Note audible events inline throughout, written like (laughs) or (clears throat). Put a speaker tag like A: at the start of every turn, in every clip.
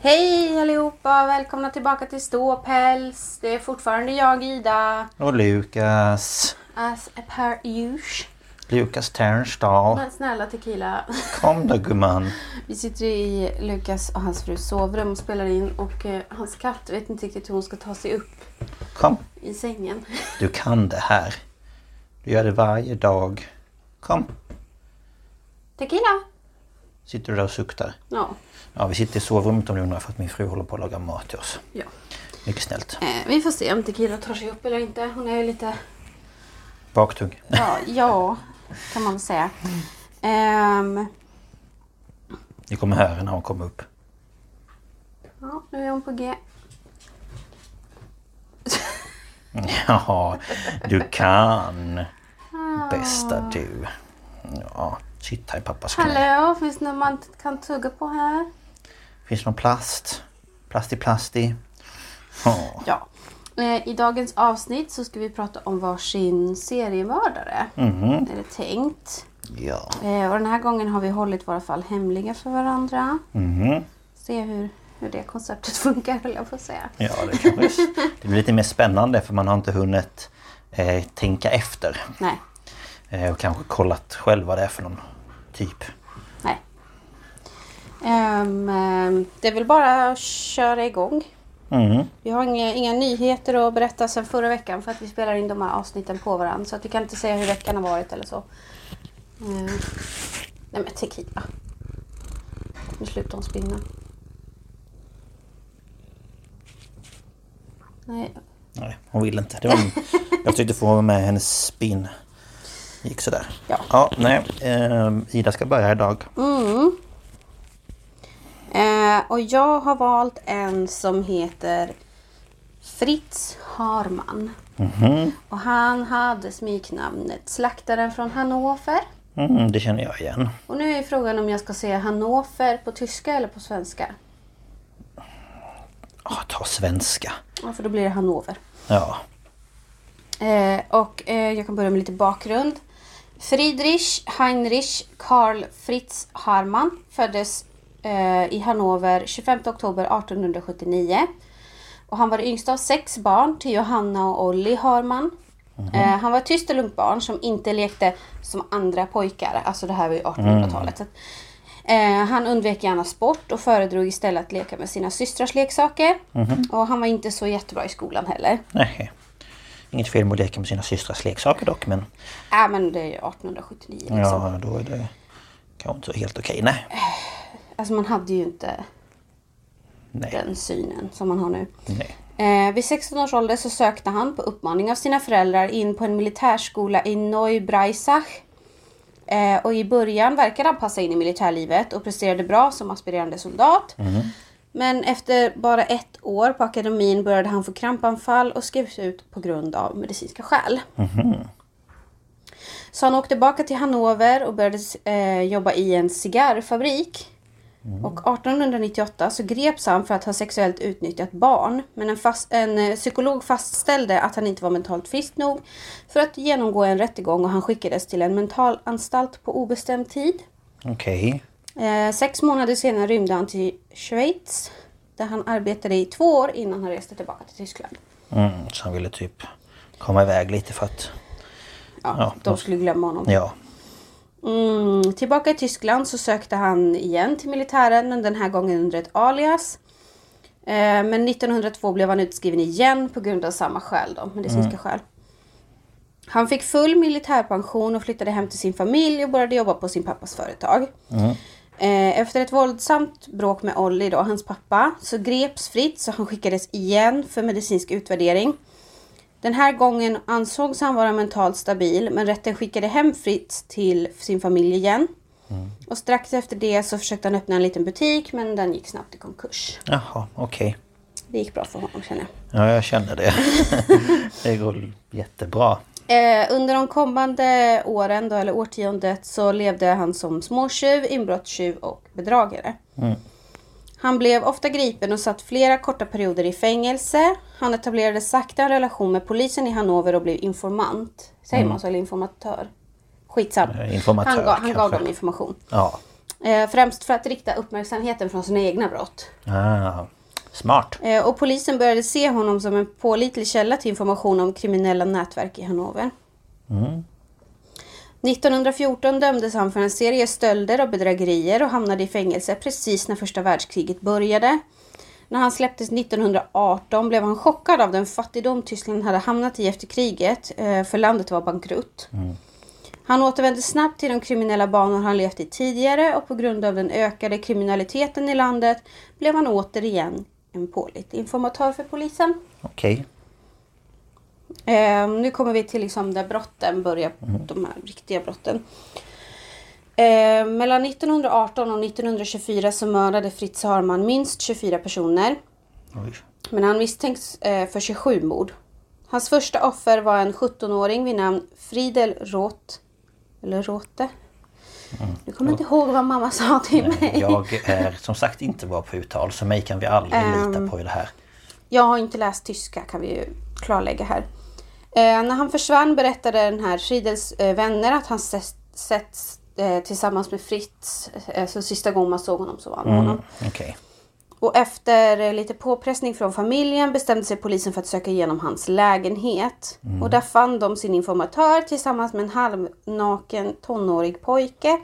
A: Hej allihopa! Välkomna tillbaka till Ståpäls. Det är fortfarande jag, Ida.
B: Och Lukas.
A: As per usual.
B: Lukas Ternstahl.
A: Men snälla tequila. (laughs)
B: Kom då gumman.
A: Vi sitter i Lukas och hans frus sovrum och spelar in och eh, hans katt vet inte riktigt hur hon ska ta sig upp
B: Kom.
A: i sängen.
B: Du kan det här. Du gör det varje dag. Kom.
A: (laughs) Tequila!
B: Sitter du där och suktar?
A: Ja.
B: Ja, vi sitter i sovrummet om du undrar för att min fru håller på att laga mat till oss.
A: ja.
B: Mycket snällt.
A: Eh, vi får se om tequila tar sig upp eller inte. Hon är ju lite...
B: Baktung.
A: Ja, ja kan man väl säga. Ehm,
B: Ni kommer höra när hon kommer upp. (laughs)
A: ja, nu är hon på G.
B: Ja, du kan. Bästa du. Ja, sitt här i pappas knä.
A: Hallå, finns det något man kan tugga på här?
B: Finns det någon plast? Plast i plast i? Ja.
A: Ja. Eh, I dagens avsnitt så ska vi prata om varsin seriemördare. Är det tänkt.
B: Ja.
A: Eh, Och den här gången har vi hållit våra fall hemliga för varandra.
B: Mhm.
A: Se hur, hur det konceptet (laughs) funkar höll jag på att säga.
B: Ja, det kanske det blir lite mer spännande för man har inte hunnit eh, tänka efter.
A: Nej,
B: Eh, och kanske kollat själv vad det är för någon typ.
A: nej. Ehm, ehm, det är väl bara att köra igång.
B: Mm.
A: Vi har inga, inga nyheter att berätta sedan förra veckan för att vi spelar in de här avsnitten på varandra. Så att vi kan inte säga hur veckan har varit eller så. Ehm, nej men tequila. Nu slutar hon spinna. Nej,
B: Nej, hon vill inte. Det var en, jag försökte få med hennes spinn. gick sådär.
A: Ja.
B: ja nej. Eh, Ida ska börja idag.
A: Mm. Eh, och jag har valt en som heter Fritz Harman. Och han hade smeknamnet Slaktaren från Hannover.
B: Mm, det känner jag igen.
A: Och nu är frågan om jag ska säga Hannover på tyska eller på svenska.
B: Ah, ta svenska.
A: Ja, för då blir det Hannover.
B: Ja.
A: Eh, och eh, jag kan börja med lite bakgrund. Friedrich Heinrich Karl Fritz Harman föddes eh, i Hannover 25 oktober 1879. Och han var det yngsta av sex barn till Johanna och Olli Harman. Eh, han var ett tyst och lugnt barn som inte lekte som andra pojkar. Alltså det här var ju 1800-talet. Eh, han undvek gärna sport och föredrog istället att leka med sina systrars leksaker. Och han var inte så jättebra i skolan heller.
B: Nej. Inget fel med att leka med sina systrars leksaker dock men
A: Ja men det är ju 1879 liksom.
B: ja, då är det kanske inte helt okej. Nej.
A: Alltså man hade ju inte
B: Nej.
A: den synen som man har nu.
B: Nej.
A: Eh, vid 16 års ålder så sökte han på uppmaning av sina föräldrar in på en militärskola i Neubreisach. Eh, och i början verkade han passa in i militärlivet och presterade bra som aspirerande soldat. Men efter bara ett år på akademin började han få krampanfall och skrevs ut på grund av medicinska skäl. Så han åkte tillbaka till Hannover och började eh, jobba i en cigarrfabrik. Och 1898 så greps han för att ha sexuellt utnyttjat barn. Men en, fast, en eh, psykolog fastställde att han inte var mentalt frisk nog för att genomgå en rättegång och han skickades till en mentalanstalt på obestämd tid.
B: Okej.
A: Eh, sex månader senare rymde han till Schweiz där han arbetade i två år innan han reste tillbaka till Tyskland.
B: Mm, så han ville typ komma iväg lite för att...
A: Ja,
B: Ja,
A: de
B: då-
A: skulle glömma honom.
B: Ja.
A: Mm, tillbaka i Tyskland så sökte han igen till militären men den här gången under ett alias. Eh, men 1902 blev han utskriven igen på grund av samma skäl då, medicinska skäl. Han fick full militärpension och flyttade hem till sin familj och började jobba på sin pappas företag. Eh, efter ett våldsamt bråk med Olli då, hans pappa, så greps Fritz och han skickades igen för medicinsk utvärdering. Den här gången ansågs han vara mentalt stabil men rätten skickade hem Fritz till sin familj igen. Och strax efter det så försökte han öppna en liten butik men den gick snabbt i konkurs.
B: Jaha, okej.
A: Det gick bra för honom känner jag.
B: Ja, jag känner det. (laughs) det går jättebra.
A: Eh, under de kommande åren då, eller årtiondet så levde han som småtjuv, inbrottstjuv och bedragare.
B: Mm.
A: Han blev ofta gripen och satt flera korta perioder i fängelse. Han etablerade sakta en relation med polisen i Hannover och blev informant. Säger man så? Eller informatör? Skitsam.
B: Mm. Eh, informatör,
A: han gav, han gav
B: kanske.
A: dem information.
B: Ja.
A: Eh, främst för att rikta uppmärksamheten från sina egna brott.
B: Ah, smart.
A: Eh, och polisen började se honom som en pålitlig källa till information om kriminella nätverk i Hannover. 1914 dömdes han för en serie stölder och bedrägerier och hamnade i fängelse precis när första världskriget började. När han släpptes 1918 blev han chockad av den fattigdom Tyskland hade hamnat i efter kriget, eh, för landet var bankrutt. Han återvände snabbt till de kriminella banor han levt i tidigare och på grund av den ökade kriminaliteten i landet blev han återigen en pålitlig informatör för polisen.
B: Okej.
A: Eh, nu kommer vi till liksom där brotten börjar, de här riktiga brotten. Eh, mellan 1918 och 1924 så mördade Fritz Harman minst 24 personer.
B: Oj.
A: Men han misstänks eh, för 27 mord. Hans första offer var en 17-åring vid namn Fridel Roth. Eller Rote. Nu kommer jag inte ihåg vad mamma sa till mig.
B: Jag är som sagt inte bra på uttal så mig kan vi aldrig
A: Ehm.
B: lita på i det här.
A: Jag har inte läst tyska kan vi ju klarlägga här. Eh, när han försvann berättade den här Friedels eh, vänner att han ses- setts eh, tillsammans med Fritz. Eh, så sista gången man såg honom så var han med honom.
B: Okej.
A: Och efter eh, lite påpressning från familjen bestämde sig polisen för att söka igenom hans lägenhet. Och där fann de sin informatör tillsammans med en halvnaken tonårig pojke.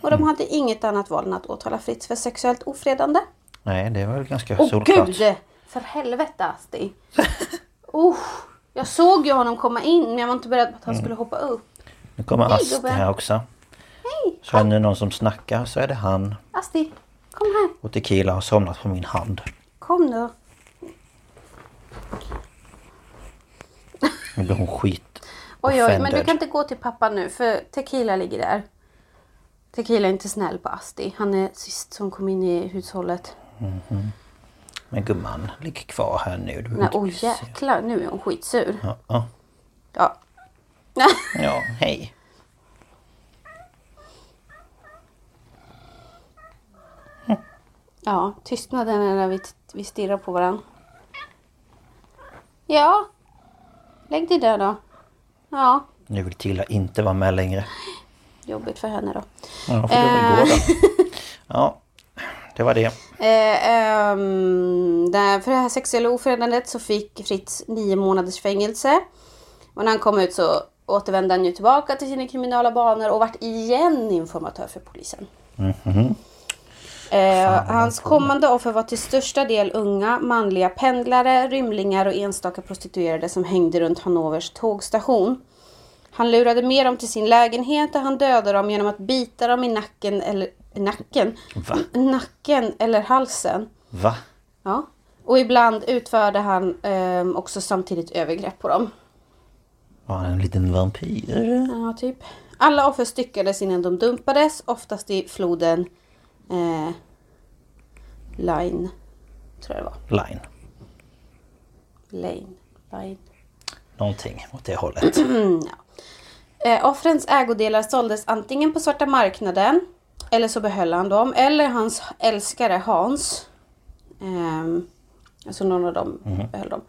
A: Och de hade inget annat val än att åtala Fritz för sexuellt ofredande.
B: Nej, det var väl ganska
A: Åh
B: solklart.
A: gud! För helvete Asti! (laughs) oh, jag såg ju honom komma in men jag var inte beredd på att han skulle hoppa upp.
B: Nu kommer
A: Hej,
B: Asti
A: gubbe.
B: här också.
A: Hej!
B: Så är det någon som snackar så är det han.
A: Asti, kom här!
B: Och Tequila har somnat på min hand.
A: Kom nu!
B: Nu blir hon skit.
A: Oj oj, men du
B: offended.
A: kan inte gå till pappa nu för Tequila ligger där. Tequila är inte snäll på Asti. Han är sist som kom in i hushållet.
B: Men gumman, ligg kvar här nu. Du
A: Nej, oj jäklar, nu är hon skitsur.
B: ja, ja.
A: Ja.
B: ja, hej.
A: Ja, tystnaden är när vi, vi stirrar på varandra. Ja, lägg dig där då. Ja,
B: Nu vill Tilla inte vara med längre.
A: Jobbigt för henne då.
B: Ja, då får du väl gå då. Ja, det var det.
A: Eh, ehm, där, för det här sexuella ofredandet så fick Fritz nio månaders fängelse. Och när han kom ut så återvände han ju tillbaka till sina kriminella banor och vart igen informatör för polisen. Eh, hans kommande offer var till största del unga, manliga pendlare, rymlingar och enstaka prostituerade som hängde runt Hannovers tågstation. Han lurade med dem till sin lägenhet där han dödade dem genom att bita dem i nacken eller i nacken?
B: Va?
A: Nacken eller halsen.
B: Va?
A: Ja. Och ibland utförde han ehm, också samtidigt övergrepp på dem.
B: Var han en liten vampyr?
A: Ja, typ. Alla offer styckades innan de dumpades, oftast i floden eh, Line. Tror jag det var.
B: Line.
A: Lane. Line.
B: Någonting åt det hållet.
A: Eh, offrens ägodelar såldes antingen på svarta marknaden, eller så behöll han dem, eller hans älskare Hans. Ehm, alltså någon av dem behöll dem.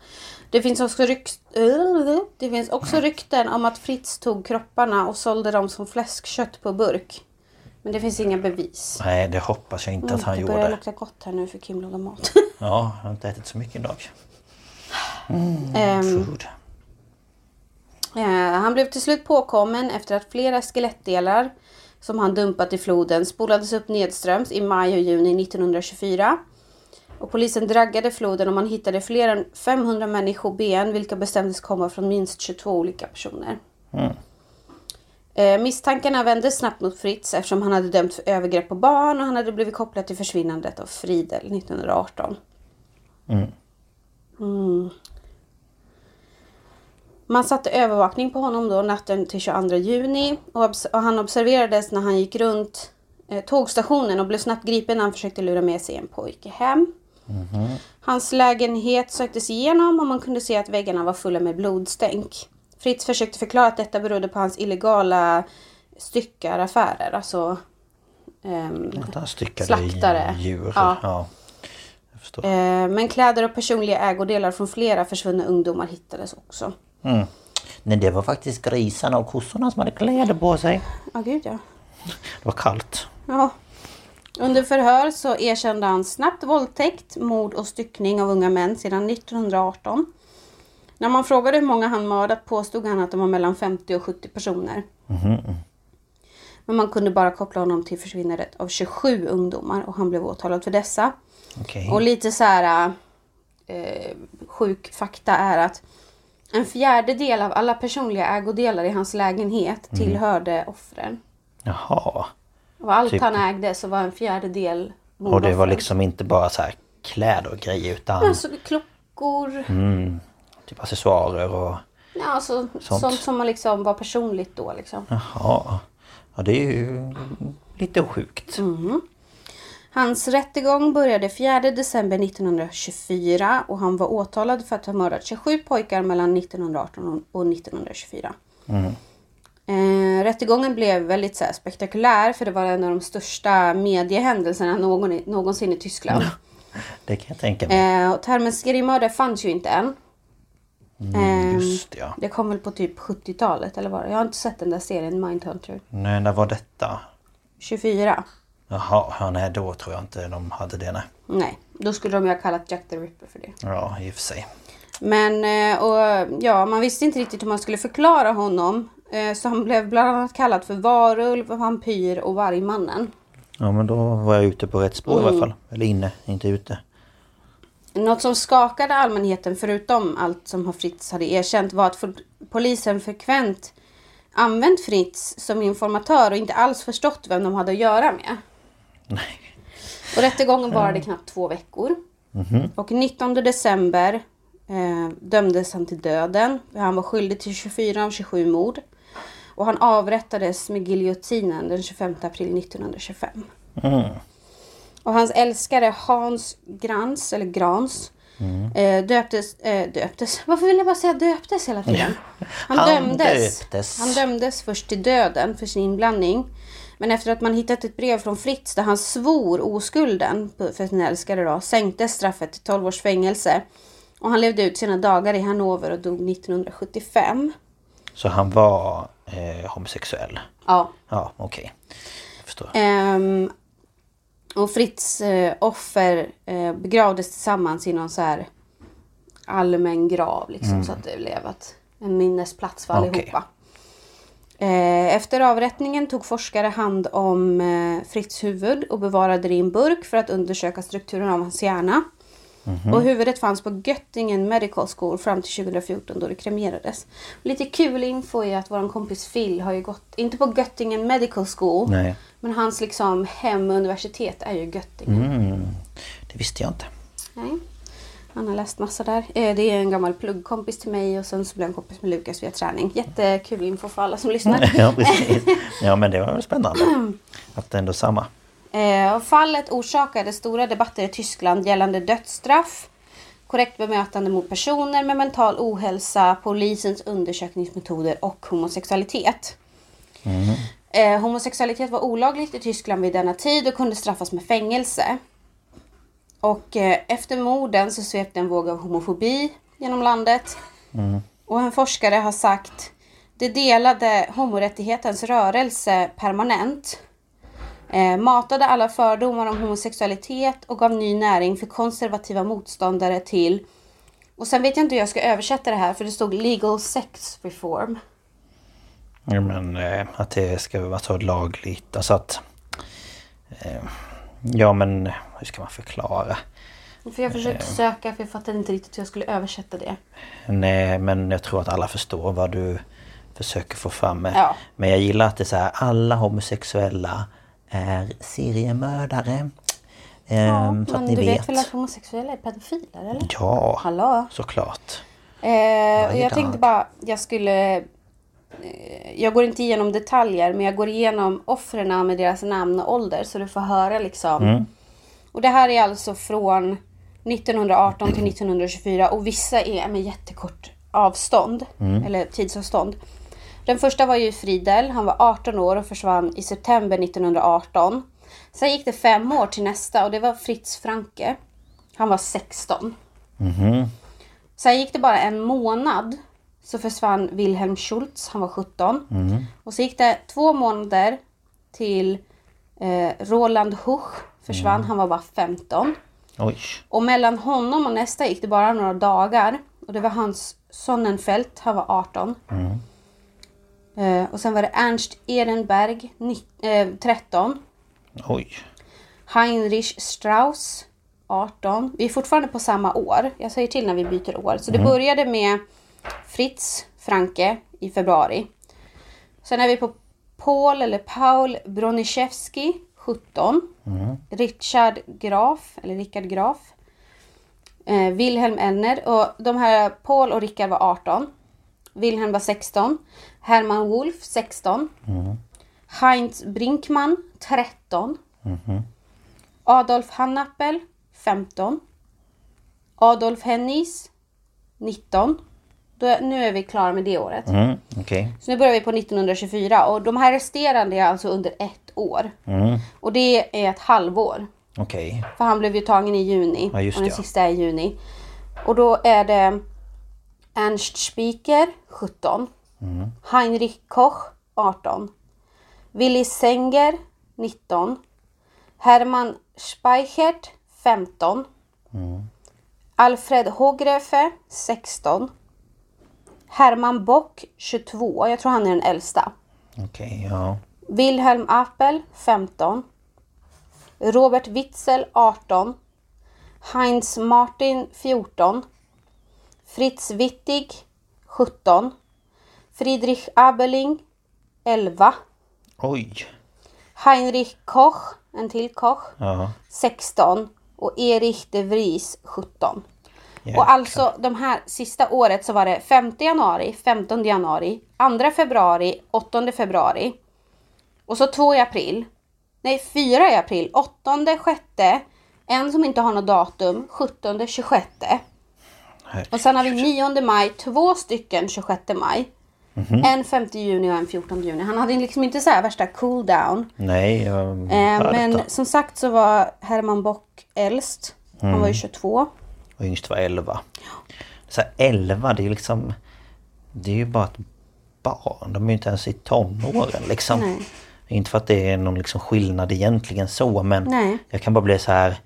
A: Det finns också, rykt, (laughs) det finns också rykten om att Fritz tog kropparna och sålde dem som fläskkött på burk. Men det finns inga bevis.
B: Nej, det hoppas jag inte att han
A: Mm, det börjar
B: gjorde.
A: lukta gott här nu för Kim lagar mat. (laughs)
B: Ja, jag har inte ätit så mycket idag.
A: Ehm,
B: Food.
A: Eh, Han blev till slut påkommen efter att flera skelettdelar som han dumpat i floden spolades upp nedströms i maj och juni 1924. Och polisen draggade floden och man hittade fler än 500 människoben vilka bestämdes komma från minst 22 olika personer.
B: Mm.
A: Eh, Misstankarna vände snabbt mot Fritz eftersom han hade dömts för övergrepp på barn och han hade blivit kopplad till försvinnandet av Fridel 1918. Man satte övervakning på honom då natten till 22 juni och, obs- och han observerades när han gick runt eh, tågstationen och blev snabbt gripen när han försökte lura med sig en pojke hem. Hans lägenhet söktes igenom och man kunde se att väggarna var fulla med blodstänk. Fritz försökte förklara att detta berodde på hans illegala styckaraffärer, alltså ehm,
B: Att han styckade
A: slaktare.
B: djur.
A: Ja.
B: Ja. Jag förstår.
A: eh, men kläder och personliga ägodelar från flera försvunna ungdomar hittades också.
B: Mm. Nej, det var faktiskt grisarna och kossorna som hade kläder på sig.
A: Ja, gud ja.
B: Det var kallt.
A: Ja. Under förhör så erkände han snabbt våldtäkt, mord och styckning av unga män sedan 1918. När man frågade hur många han mördat påstod han att det var mellan 50 och 70 personer. Men man kunde bara koppla honom till försvinnandet av 27 ungdomar och han blev åtalad för dessa.
B: Okej.
A: Och lite så här eh, sjuk fakta är att en fjärdedel av alla personliga ägodelar i hans lägenhet tillhörde offren.
B: Jaha.
A: Av allt
B: Typ-
A: han ägde så var en fjärdedel
B: Och det var
A: mordoffren.
B: liksom inte bara så här kläder och grejer utan
A: Alltså klockor,
B: Mm. typ accessoarer och...
A: ja, alltså, sånt. som man liksom var personligt då liksom.
B: Jaha. Ja, det är ju lite sjukt.
A: Hans rättegång började 4 december 1924 och han var åtalad för att ha mördat 27 pojkar mellan 1918 och 1924.
B: Mm.
A: Eh, rättegången blev väldigt så här, spektakulär för det var en av de största mediehändelserna någon, i- någonsin i Tyskland.
B: Det kan jag tänka mig.
A: Eh, och termen seriemördare fanns ju inte än. Ehm,
B: Mm, Just det, ja.
A: Det kom väl på typ 70-talet eller vad det? Jag har inte sett den där serien Mindhunter.
B: Nej, när var detta?
A: 24?
B: Jaha, ja, nej då tror jag inte de hade det nej.
A: Nej, då skulle de ju ha kallat Jack the Ripper för det.
B: Ja, i och för sig.
A: Men eh, och, ja, man visste inte riktigt hur man skulle förklara honom. eh, Så han blev bland annat kallad för varulv, vampyr och vargmannen.
B: Ja, men då var jag ute på rätt spår i alla fall. Eller inne, inte ute. (laughs)
A: Något som skakade allmänheten förutom allt som Fritz hade erkänt var att for- polisen frekvent använt Fritz som informatör och inte alls förstått vem de hade att göra med.
B: Nej.
A: Och rättegången varade knappt två veckor. Och 19 december eh, dömdes han till döden. Han var skyldig till 24 av 27 mord. Och han avrättades med giljotinen den 25 april 1925. Och hans älskare Hans Grans, eller Grans, eh, döptes, eh, döptes. Varför vill jag bara säga döptes hela tiden? Han,
B: Han
A: dömdes.
B: döptes.
A: Han dömdes först till döden för sin inblandning. Men efter att man hittat ett brev från Fritz där han svor oskulden på- för sin älskare då, sänktes straffet till 12 års fängelse. Och han levde ut sina dagar i Hannover och dog 1975.
B: Så han var eh, homosexuell.
A: Ja,
B: Ja, okej. Jag förstår.
A: Ehm, och Fritz eh, offer eh, begravdes tillsammans i någon så här allmän grav liksom så att det blev att en minnesplats för
B: Mm. Okej.
A: allihopa. Eh, efter avrättningen tog forskare hand om eh, Fritz huvud och bevarade det i en burk för att undersöka strukturen av hans hjärna.
B: Mhm.
A: Och huvudet fanns på Göttingen Medical School fram till 2014 då det kremerades. Lite kul info är att vår kompis Phil har ju gått, inte på Göttingen Medical School,
B: Nej.
A: men hans
B: Mm.
A: liksom hemuniversitet är ju Göttingen.
B: Det visste jag inte.
A: Nej. Han har läst massa där. Eh, Det är en gammal pluggkompis till mig och sen så blev han kompis med Lukas via träning. Jättekul info för alla som
B: (laughs)
A: lyssnar.
B: (laughs) Ja, precis. Ja, men det var väl spännande. Att det ändå är samma.
A: Eh, och fallet orsakade stora debatter i Tyskland gällande dödsstraff, korrekt bemötande mot personer med mental ohälsa, polisens undersökningsmetoder och homosexualitet. Eh, homosexualitet var olagligt i Tyskland vid denna tid och kunde straffas med fängelse. Och eh, efter morden så svepte en våg av homofobi genom landet. Och en forskare har sagt det delade homorättighetens rörelse permanent. Eh, matade alla fördomar om homosexualitet och gav ny näring för konservativa motståndare till... Och sen vet jag inte hur jag ska översätta det här för det stod legal sex reform.
B: Ja, men eh, att det ska vara så lagligt. Alltså att... eh, Ja, men hur ska man förklara?
A: För jag försökte söka för jag fattade inte riktigt hur jag skulle översätta
B: Ehm,
A: det.
B: Nej, men jag tror att alla förstår vad du försöker få fram med.
A: Ja.
B: Men jag gillar att det är så här, alla homosexuella är seriemördare.
A: Ja,
B: Ehm, så att
A: men
B: ni
A: du
B: vet.
A: vet väl att homosexuella är pedofiler eller?
B: Ja,
A: Hallå?
B: såklart.
A: Eh, och jag
B: dag.
A: tänkte bara, jag skulle... Eh, jag går inte igenom detaljer, men jag går igenom offren med deras namn och ålder, så du får höra liksom. Och det här är alltså från 1918 till 1924 och vissa är med jättekort avstånd, eller tidsavstånd. Den första var ju Friedel, han var 18 år och försvann i september 1918. Sen gick det fem år till nästa och det var Fritz Franke. Han var 16. Sen gick det bara en månad så försvann Wilhelm Schultz, han var 17. Och så gick det två månader till eh, Roland Huch försvann, han var bara 15.
B: Oj.
A: Och mellan honom och nästa gick det bara några dagar. Och det var Hans Sonnenfeld, han var 18. Eh, och sen var det Ernst Ehrenberg, ni- eh, 13.
B: Oj.
A: Heinrich Strauss, 18. Vi är fortfarande på samma år. Jag säger till när vi byter år. Så det började med Fritz Franke i februari. Sen är vi på Paul eller Paul Broniszewski, 17. Richard Graf, eller Richard Graf. Eh, Wilhelm Elner. Och de här Paul och Richard var 18. Wilhelm var 16. Hermann Wolf 16. Heinz Brinkmann 13. Adolf Hannappel 15. Adolf Hennis 19. Då, är- nu är vi klara med det året.
B: Mm, Okej.
A: Så nu börjar vi på 1924 och de här resterande är alltså under ett år. Och det är ett halvår.
B: Okej.
A: För han blev ju tagen i juni
B: Ja, just
A: och den
B: det, ja.
A: sista är i juni. Och då är det Ernst Spiker 17.
B: Mm.
A: Heinrich Koch 18. Willy Senger 19. Hermann Speichert 15.
B: Mm.
A: Alfred Hågrefe 16. Hermann Bock 22. Jag tror han är den äldsta.
B: Okej, ja.
A: Wilhelm Apel 15. Robert Witzel 18. Heinz Martin 14. Fritz Wittig 17. Friedrich Abeling 11.
B: Oj.
A: Heinrich Koch, en till Koch,
B: Ja.
A: 16. Och Erich de Vries 17.
B: Jäklar.
A: Och alltså de här sista året så var det 5 januari, 15 januari, 2 februari, 8 februari. Och så två i april. Nej, fyra i april. 8, 6. En som inte har något datum. 17, 26. Och sen har vi 9 maj, två stycken 26 maj. En 5 juni och en 14 juni. Han hade liksom inte så här värsta cool down.
B: Nej, jag
A: Eh,
B: hör
A: men
B: detta.
A: som sagt så var Herman Bock äldst. Han
B: Mm.
A: var ju 22.
B: Och yngst var 11. Så här, 11, det är ju liksom... Det är ju bara ett barn. De är ju inte ens i tonåren liksom.
A: Nej.
B: Inte för att det är någon liksom skillnad egentligen så men
A: Nej.
B: jag kan bara bli så här...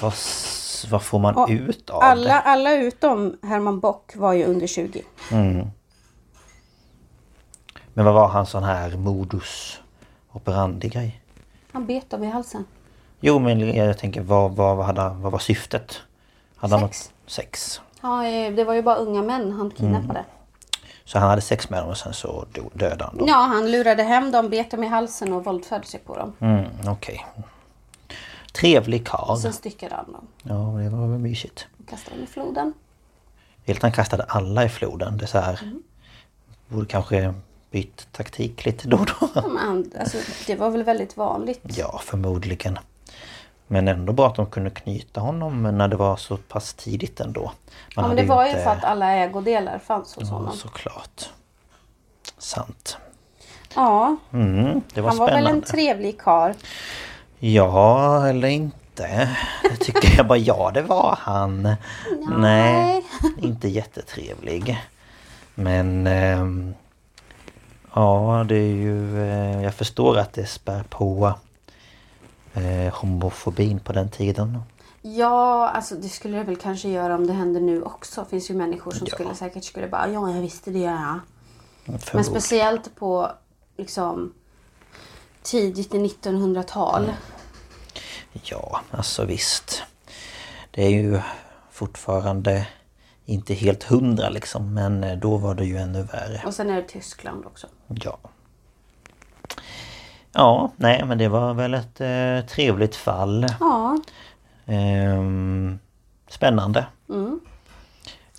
B: Vad, s- vad får man
A: Och
B: ut av
A: Alla,
B: det?
A: alla utom Herman Bock var ju under 20.
B: Men vad var hans sån här modus operandi grej?
A: Han bet dem i halsen.
B: Jo men jag tänker vad, vad, vad, hade, han- vad var syftet? Hade Han
A: Sex.
B: något, sex.
A: Ja, eh, det var ju bara unga män han kidnappade.
B: Så han hade sex med dem och sen så do- dödade han dem?
A: Mm. Ja, han lurade hem dem, bet dem i halsen och våldförde sig på dem.
B: Mm, Okej. Trevlig karl.
A: Och sen styckade han dem
B: Ja, det var väl mysigt.
A: och kastade dem i floden.
B: Viltan kastade alla i floden. Det är så här...
A: Mm.
B: Borde kanske bytt taktik lite då och då.
A: (laughs) De and- alltså, det var väl väldigt vanligt.
B: Ja, förmodligen. Men ändå bra att de kunde knyta honom när det var så pass tidigt ändå. Man
A: Ja, men
B: hade
A: det var ju
B: inte-
A: för att alla ägodelar fanns hos
B: Ja,
A: honom.
B: såklart. Sant.
A: Ja,
B: Mm, det var
A: han var
B: spännande.
A: väl en trevlig karl.
B: Ja, eller inte. Det tycker jag bara, ja det var han. Nej. inte jättetrevlig. Men... ehm, ja, det är ju... eh, jag förstår att det spär på eh, homofobin på den tiden.
A: Ja, alltså det skulle jag väl kanske göra om det händer nu också. Det finns ju människor som
B: Ja.
A: skulle säkert skulle bara ja, jag visste det. Ja. Men
B: Förmodligen.
A: speciellt på liksom tidigt 1900-tal.
B: Mm. Ja, alltså visst. Det är ju fortfarande inte helt hundra liksom, men eh, då var det ju ännu värre.
A: Och sen är det Tyskland också.
B: Ja. Ja, nej men det var väl ett eh, trevligt fall.
A: Ja,
B: Ehm, spännande.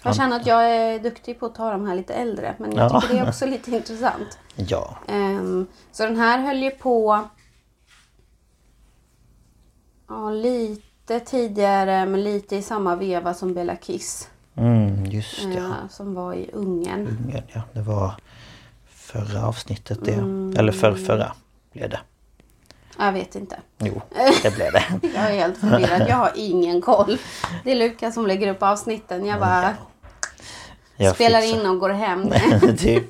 A: jag känner att jag är duktig på att ta de här lite äldre. Men jag
B: Ja.
A: tycker det är
B: (laughs)
A: också lite intressant.
B: Ja,
A: Ehm, så den här höll ju på ja, lite tidigare men lite i samma veva som Bella Kiss.
B: mm, just
A: eh,
B: ja.
A: som var i Ungern.
B: Ungern, ja. Det var förra avsnittet det.
A: Mm.
B: Eller för, förra blev det.
A: Jag vet inte.
B: Jo, det
A: (laughs)
B: blev det.
A: Jag är helt förvirrad. Jag har ingen koll. Det är Lukas som lägger upp avsnitten. Jag bara
B: Jag
A: spelar
B: fixar-
A: in och går hem.
B: (laughs) typ.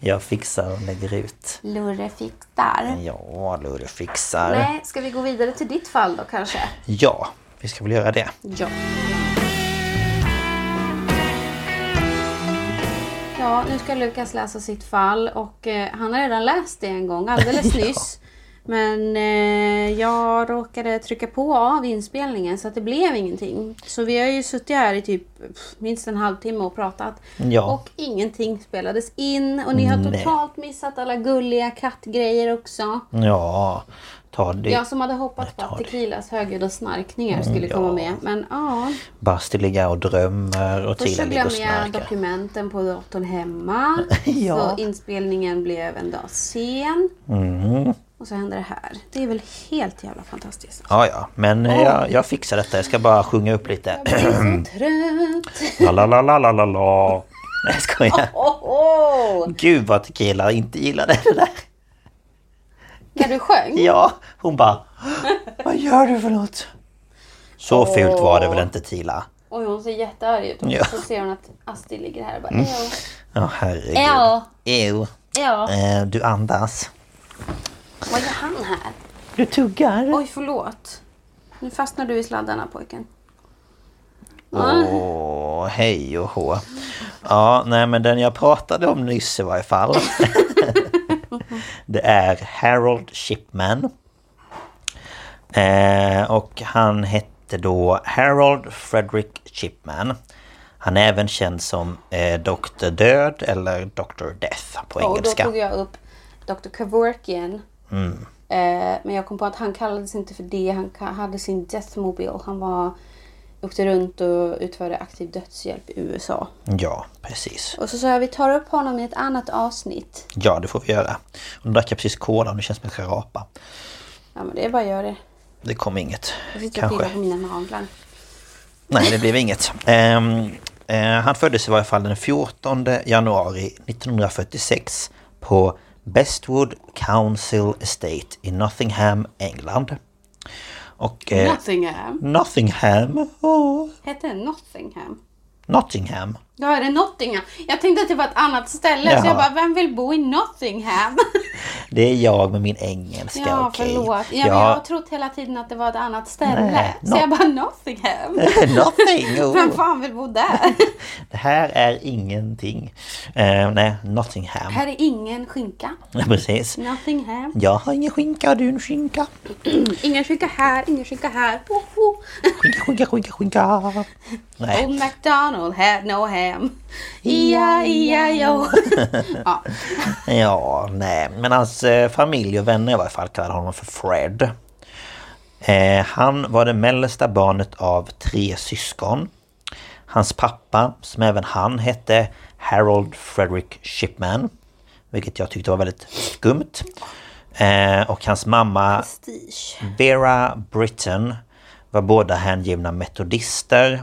B: Jag fixar och lägger ut.
A: Lurre fick där.
B: Ja, Lurre fixar.
A: Nej, ska vi gå vidare till ditt fall då kanske?
B: Ja, vi ska väl göra det.
A: Ja. Ja, nu ska Lukas läsa sitt fall och eh, han har redan läst det en gång alldeles
B: (laughs) Ja.
A: nyss. Men eh, jag råkade trycka på av inspelningen så att det blev ingenting. Så vi har ju suttit här i typ pff, minst en halvtimme och pratat.
B: Ja.
A: Och ingenting spelades in och ni har
B: Nej.
A: totalt missat alla gulliga kattgrejer också.
B: Ja, ta det.
A: Jag som hade hoppats på
B: Jag tar
A: att
B: det. Mm,
A: Tequilas högljudda snarkningar skulle
B: ja.
A: komma med. Men ja.
B: Basti ligger och drömmer och
A: Först så
B: Trilla ligger och
A: glömde jag
B: snarkar.
A: dokumenten på datorn hemma.
B: (laughs) Ja.
A: Så inspelningen blev en dag sen.
B: Mm.
A: Och så hände det här. Det är väl helt jävla fantastiskt.
B: Ja, ja, men eh, jag, jag fixar detta. Jag ska bara sjunga upp lite.
A: Jag blir så trött.
B: (clears throat) la, la, la, la, la, la, la. Nej, jag (laughs) skojar.
A: Oh, oh.
B: Gud vad Tequila inte gillade det där.
A: När du sjöng?
B: Ja, hon (laughs) bara... Vad gör du för något? Så fult var det väl inte Tila?
A: Oj, hon ser jättearg ut. Och
B: Ja. Mm.
A: så ser hon att Astrid ligger här och bara "Ew,
B: Ja, herregud.
A: Ja.
C: 哦
B: Ew.
A: Ja,
B: Eh, du andas.
A: vad gör han här?
B: Du tuggar.
A: Oj, förlåt. Nu fastnar du i sladdarna pojken. Ah.
B: Åh, hej och hå. Ja, nej men den jag pratade om nyss i
A: (laughs)
B: varje fall. det är Harold Shipman. Eh, och han hette då Harold Frederick Shipman. Han är även känd som eh, Dr. Död eller Dr. Death på
A: Ja, och då
B: engelska. Mm.
A: tog jag upp Dr. Kevorkian. Eh, men jag kom på att han kallades inte för det. Han ka- hade sin Deathmobile. Han var, åkte runt och utförde aktiv dödshjälp i USA.
B: Ja, precis.
A: Och så sa jag vi tar upp honom i ett annat avsnitt.
B: Ja, det får vi göra. Nu drack jag precis cola och det känns som att jag ska rapa.
A: Ja men det är bara att göra det.
B: Det kom inget.
A: Jag sitter och
B: Kanske.
A: pillar på mina naglar.
B: Nej, det blev inget. Ehm, eh, han föddes i varje fall den 14 januari 1946 på Bestwood Council Estate i Nottingham, England. Och... eh,
A: Nottingham.
B: Nottingham? Åh,
A: Hette det Nottingham?
B: Nottingham?
A: Ja är det Nottingham? Jag tänkte att det var ett annat ställe. Så
B: Jaha.
A: jag bara, vem vill bo i Nottingham? (laughs)
B: Det är jag med min engelska,
A: ja
B: okej.
A: förlåt. Ja, men
B: (laughs)
A: jag har trott hela tiden att det var ett annat ställe.
B: Nej,
A: så jag bara, Nottingham?
B: (laughs) Nothing!
A: Vem
B: Oh.
A: fan vill bo
B: (laughs)
A: där?
B: Det här är ingenting. Ehm, nej, Nottingham. (laughs)
A: Här är ingen skinka.
B: Precis.
A: Nothing här.
B: Jag har ingen skinka, har du en skinka? Mm.
A: Ingen skinka här, ingen skinka här. Ho, ho.
B: Skinka, skinka, skinka, skinka.
A: Oh,
B: Nej.
A: Old MacDonald had no ham. Ia, ia, jo. (laughs)
B: (laughs)
A: ja.
B: Ja, nej. Men hans eh, familj och vänner i varje fall kallade honom för Fred. Eh, han var det mellersta barnet av tre syskon. Hans pappa, som även han hette Harold Frederick Shipman, vilket jag tyckte var väldigt skumt. Eh, och hans mamma
A: Prestige.
B: Vera Britton var båda hängivna metodister.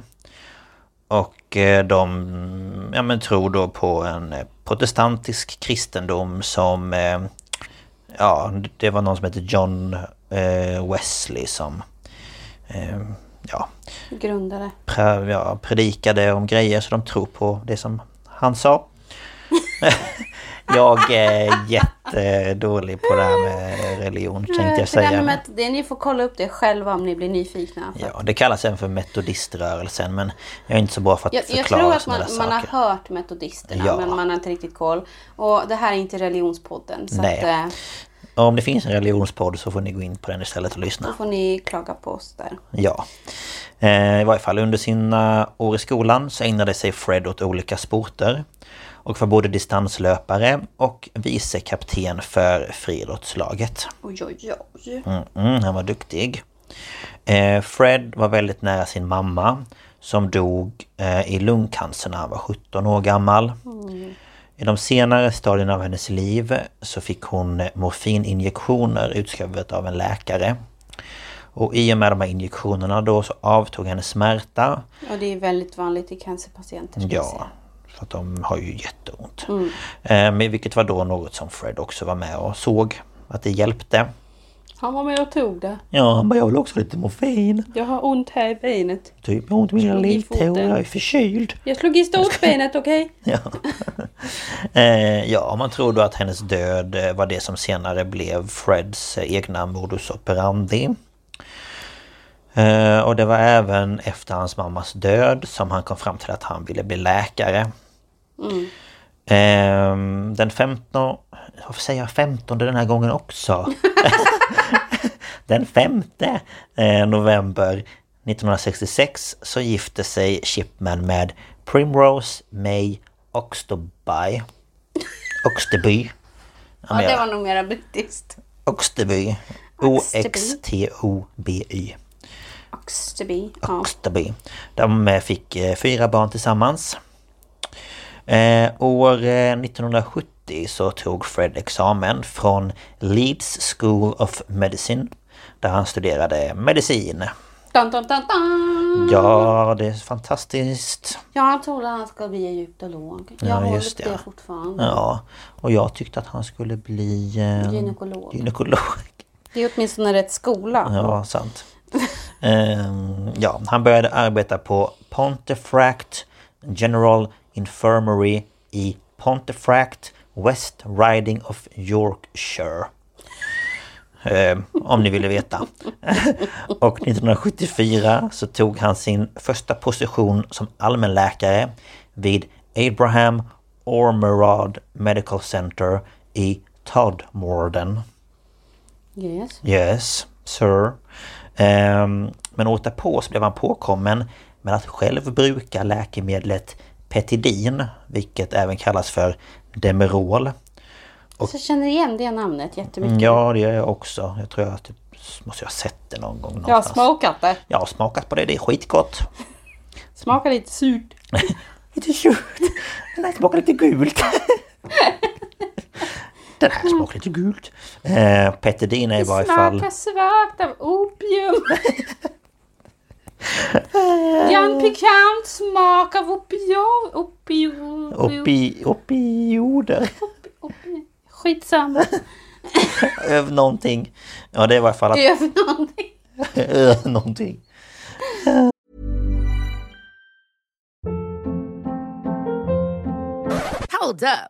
B: Och eh, de ja, men, tror då på en eh, protestantisk kristendom som... eh, Ja, det var någon som hette John eh, Wesley som... eh, Ja,
A: Grundare.
B: pre- ja, predikade om grejer så de tror på det som
A: (laughs)
B: han sa. Jag är jättedålig på det här med religion tänkte jag
A: För det här
B: säga.
A: med att det, ni får kolla upp det själva om ni blir nyfikna.
B: Ja, det kallas även för metodiströrelsen men jag är inte så bra för att
A: Jag, jag
B: förklara
A: tror att
B: sådana
A: man,
B: där
A: man har
B: saker.
A: hört metodisterna
B: Ja.
A: men man har inte riktigt koll. Och det här är inte religionspodden så
B: Nej.
A: att, eh,
B: Om det finns en religionspodd så får ni gå in på den istället och lyssna.
A: då får ni klaga på oss där.
B: Ja. Eh, I varje fall under sina år i skolan så ägnade sig Fred åt olika sporter. Och var både distanslöpare och vicekapten för friidrottslaget.
A: Oj, oj, oj.
B: Mm, han var duktig. Eh, Fred var väldigt nära sin mamma som dog eh, i lungcancer när han var 17 år gammal. I de senare stadierna av hennes liv så fick hon eh, morfininjektioner utskrivet av en läkare. Och i och med de här injektionerna då så avtog hennes smärta
A: Och det är väldigt vanligt i cancerpatienter. ska jag
B: Ja,
A: säga.
B: för att de har ju jätteont. Eh, Men vilket var då något som Fred också var med och såg att det hjälpte.
A: Han var med och tog det.
B: Ja, han bara jag vill också ha lite morfin.
A: Jag har ont här i benet.
B: Typ, jag har ont i mina
A: Slog i
B: lilltår,
A: foten.
B: jag är förkyld. (laughs)
A: Jag slog i stålbenet, okej?
B: Ja. eh, ja, man tror då att hennes död eh, var det som senare blev Freds eh, egna modus operandi. Eh, och det var även efter hans mammas död som han kom fram till att han ville bli läkare.
A: Mm.
B: Eh, den 15... Varför säger jag 15 den här
A: (laughs)
B: gången också? Den 5 eh, november 1966 så gifte sig Shipman med Primrose May Oxtoby. Oxteby.
A: Ja, det var nog mera brittiskt.
B: Oxteby. O-X-T-O-B-Y.
A: Oxteby. Ja.
B: Oxteby. De eh, fick eh, fyra barn tillsammans. Eh, år eh, 1970 så tog Fred examen från Leeds School of Medicine. Där han studerade medicin.
A: Dun, dun, dun, dun.
B: Ja, det är fantastiskt.
A: Ja, han trodde han ska bli egyptolog. Jag
B: Ja,
A: håller
B: just
A: på
B: det.
A: det fortfarande.
B: Ja, och jag tyckte att han skulle bli eh,
A: Gynekolog.
B: gynekolog.
A: Det är åtminstone rätt skola.
B: Ja, sant. Ehm, ja, han började arbeta på Pontefract General Infirmary i Pontefract, West Riding of Yorkshire. Ehm, om ni ville veta. (laughs) Och 1974 så tog han sin första position som allmänläkare vid Abraham Ormerod Medical Center i Todmorden.
A: Yes.
B: Yes, sir. Ehm, men året därpå så blev han påkommen med att själv bruka läkemedlet Petidin, vilket även kallas för Demerol.
A: Så jag känner igen det namnet jättemycket.
B: Mm, Ja, det gör jag också. Jag tror jag typ, måste jag ha sett det någon gång
A: Jag har
B: någonstans.
A: smakat det.
B: Jag har smakat på det, det är skitgott.
A: Smakar lite surt.
B: Lite gult. Den här smakar lite gult. (laughs) Den här smakar lite gult. Eh, Petidin är i varje fall...
A: Smakar svagt av
B: (laughs)
A: opium. Jan pikant smak av opium. Opium. opium.
B: Opi, opioder.
A: opium. Skitsamma.
B: Öv någonting. Ja, det är i varje fall att
A: Det gör för någonting.
B: (laughs) Eh, någonting.
D: Hold up.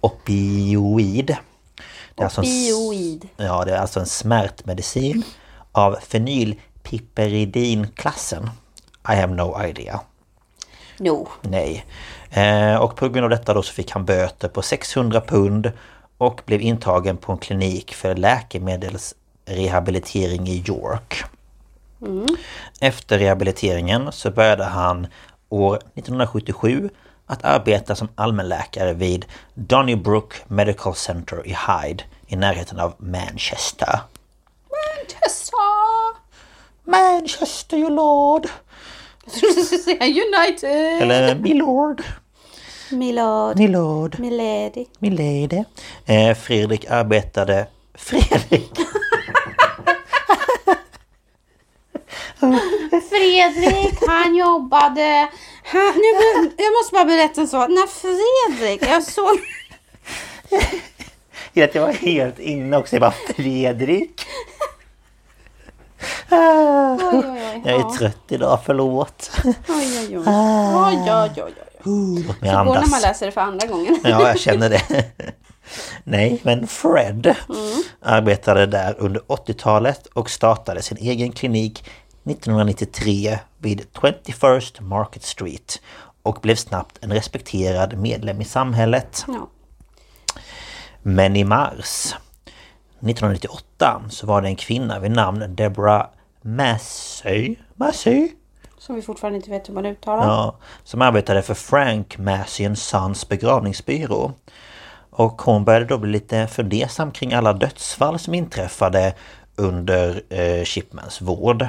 B: opioid. Det är alltså en s-
A: Opioid.
B: ja, det är alltså en smärtmedicin av fenylpiperidinklassen. I have no idea.
A: No.
B: Nej. Eh, och på grund av detta då så fick han böter på 600 pund och blev intagen på en klinik för läkemedelsrehabilitering i York. Mm. Efter rehabiliteringen så började han år 1977 att arbeta som allmänläkare vid Donnybrook Medical Center i Hyde i närheten av Manchester.
A: Tessa! (laughs)
B: Manchester, your lord!
A: Jag trodde du skulle säga United!
B: Eller (laughs) my lord,
A: Milord.
B: my lord.
A: Milady.
B: Min lady. Eh, Fredrik arbetade... (laughs) Fredrik!
A: Fredrik, han jobbade... Han, nu, be- jag måste bara berätta en sak. När Fredrik, jag såg...
B: Jag vet, Jag var helt inne också. Jag bara Fredrik.
A: Oj, oj, oj.
B: Jag är trött idag, förlåt.
A: Oj, oj, oj. Oj, oj, oj, oj.
B: Låt mig
A: Det Ah. går när man
B: andas.
A: läser det för andra gången.
B: Ja, jag känner det. (laughs) Nej, men Fred arbetade där under 80-talet och startade sin egen klinik 1993 vid 21st Market Street och blev snabbt en respekterad medlem i samhället.
A: Ja.
B: Men i mars 1998 så var det en kvinna vid namn Deborah Massey, Massey
A: Som vi fortfarande inte vet hur man uttalar.
B: ja, som arbetade för Frank Massey Sons begravningsbyrå. Och hon började då bli lite fundersam kring alla dödsfall som inträffade under eh, Shipmans vård.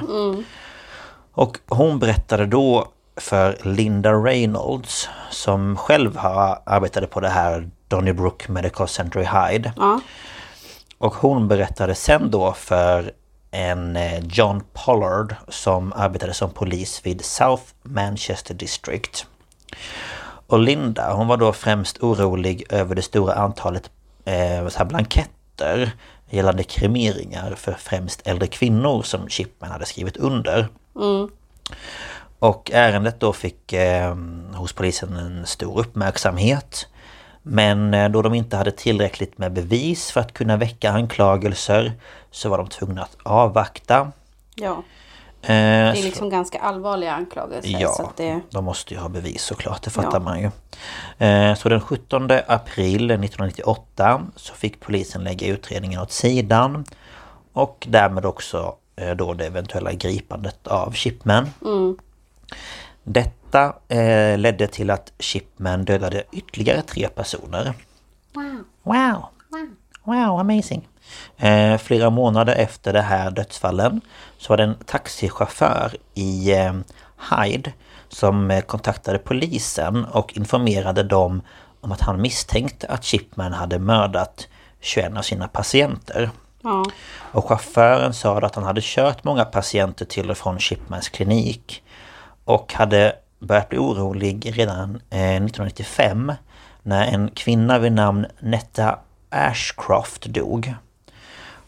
B: Och hon berättade då för Linda Reynolds som själv har arbetade på det här Donnybrook Medical Center i Hyde.
A: Ja.
B: Och hon berättade sen då för en eh, John Pollard som arbetade som polis vid South Manchester District. Och Linda, hon var då främst orolig över det stora antalet eh, så här blanketter gällande kremeringar för främst äldre kvinnor som Chipman hade skrivit under. Och ärendet då fick eh, hos polisen en stor uppmärksamhet. Men eh, då de inte hade tillräckligt med bevis för att kunna väcka anklagelser så var de tvungna att avvakta.
A: ja.
B: Eh,
A: Det är liksom ganska allvarliga anklagelser.
B: Ja,
A: Så att det...
B: de måste ju ha bevis såklart, det fattar
A: Ja.
B: man ju. Eh, Så den 17 april 1998 så fick polisen lägga utredningen åt sidan. Och därmed också eh, då det eventuella gripandet av Chipman.
A: Mm.
B: Detta eh, ledde till att Chipman dödade ytterligare tre personer.
A: Wow.
B: Wow! Wow, amazing! Eh, flera månader efter det här dödsfallen så var det en taxichaufför i eh, Hyde som eh, kontaktade polisen och informerade dem om att han misstänkte att Chipman hade mördat 21 av sina patienter.
A: Ja.
B: Och chauffören sa då att han hade kört många patienter till och från Chipmans klinik. Och hade börjat bli orolig redan eh, 1995 när en kvinna vid namn Netta Ashcroft dog.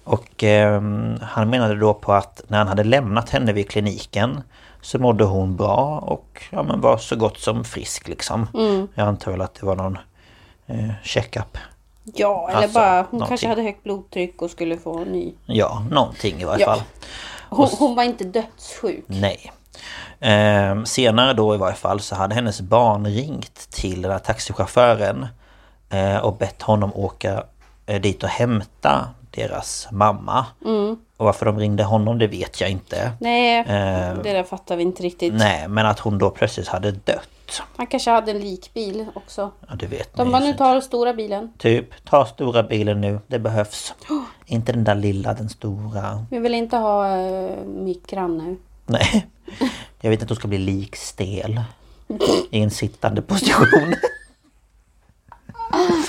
B: Och eh, han menade då på att när han hade lämnat henne vid kliniken så mådde hon bra och ja, men var så gott som frisk liksom. Jag antar väl att det var någon eh, checkup.
A: ja, eller
B: Alltså,
A: bara... Hon
B: någonting.
A: kanske hade högt blodtryck och skulle få en ny...
B: Ja, någonting i varje
A: Ja.
B: fall.
A: Hon, hon var inte dödssjuk.
B: Nej. Ehm, senare då i varje fall så hade hennes barn ringt till den här taxichauffören eh, och bett honom åka eh, dit och hämta deras mamma.
A: Mm.
B: Och varför de ringde honom det vet jag inte.
A: Nej,
B: Eh,
A: det där fattar vi inte riktigt.
B: Nej, men att hon då plötsligt hade dött.
A: Han kanske hade en likbil också.
B: Ja, det vet
A: De
B: ni
A: bara,
B: ju
A: nu
B: inte.
A: tar den stora bilen.
B: Typ, ta stora bilen nu, det behövs. Inte den där lilla, den stora.
A: Vi vill inte ha uh, mikran nu. (laughs)
B: Nej. Jag vet att hon ska bli likstel. I en sittande position.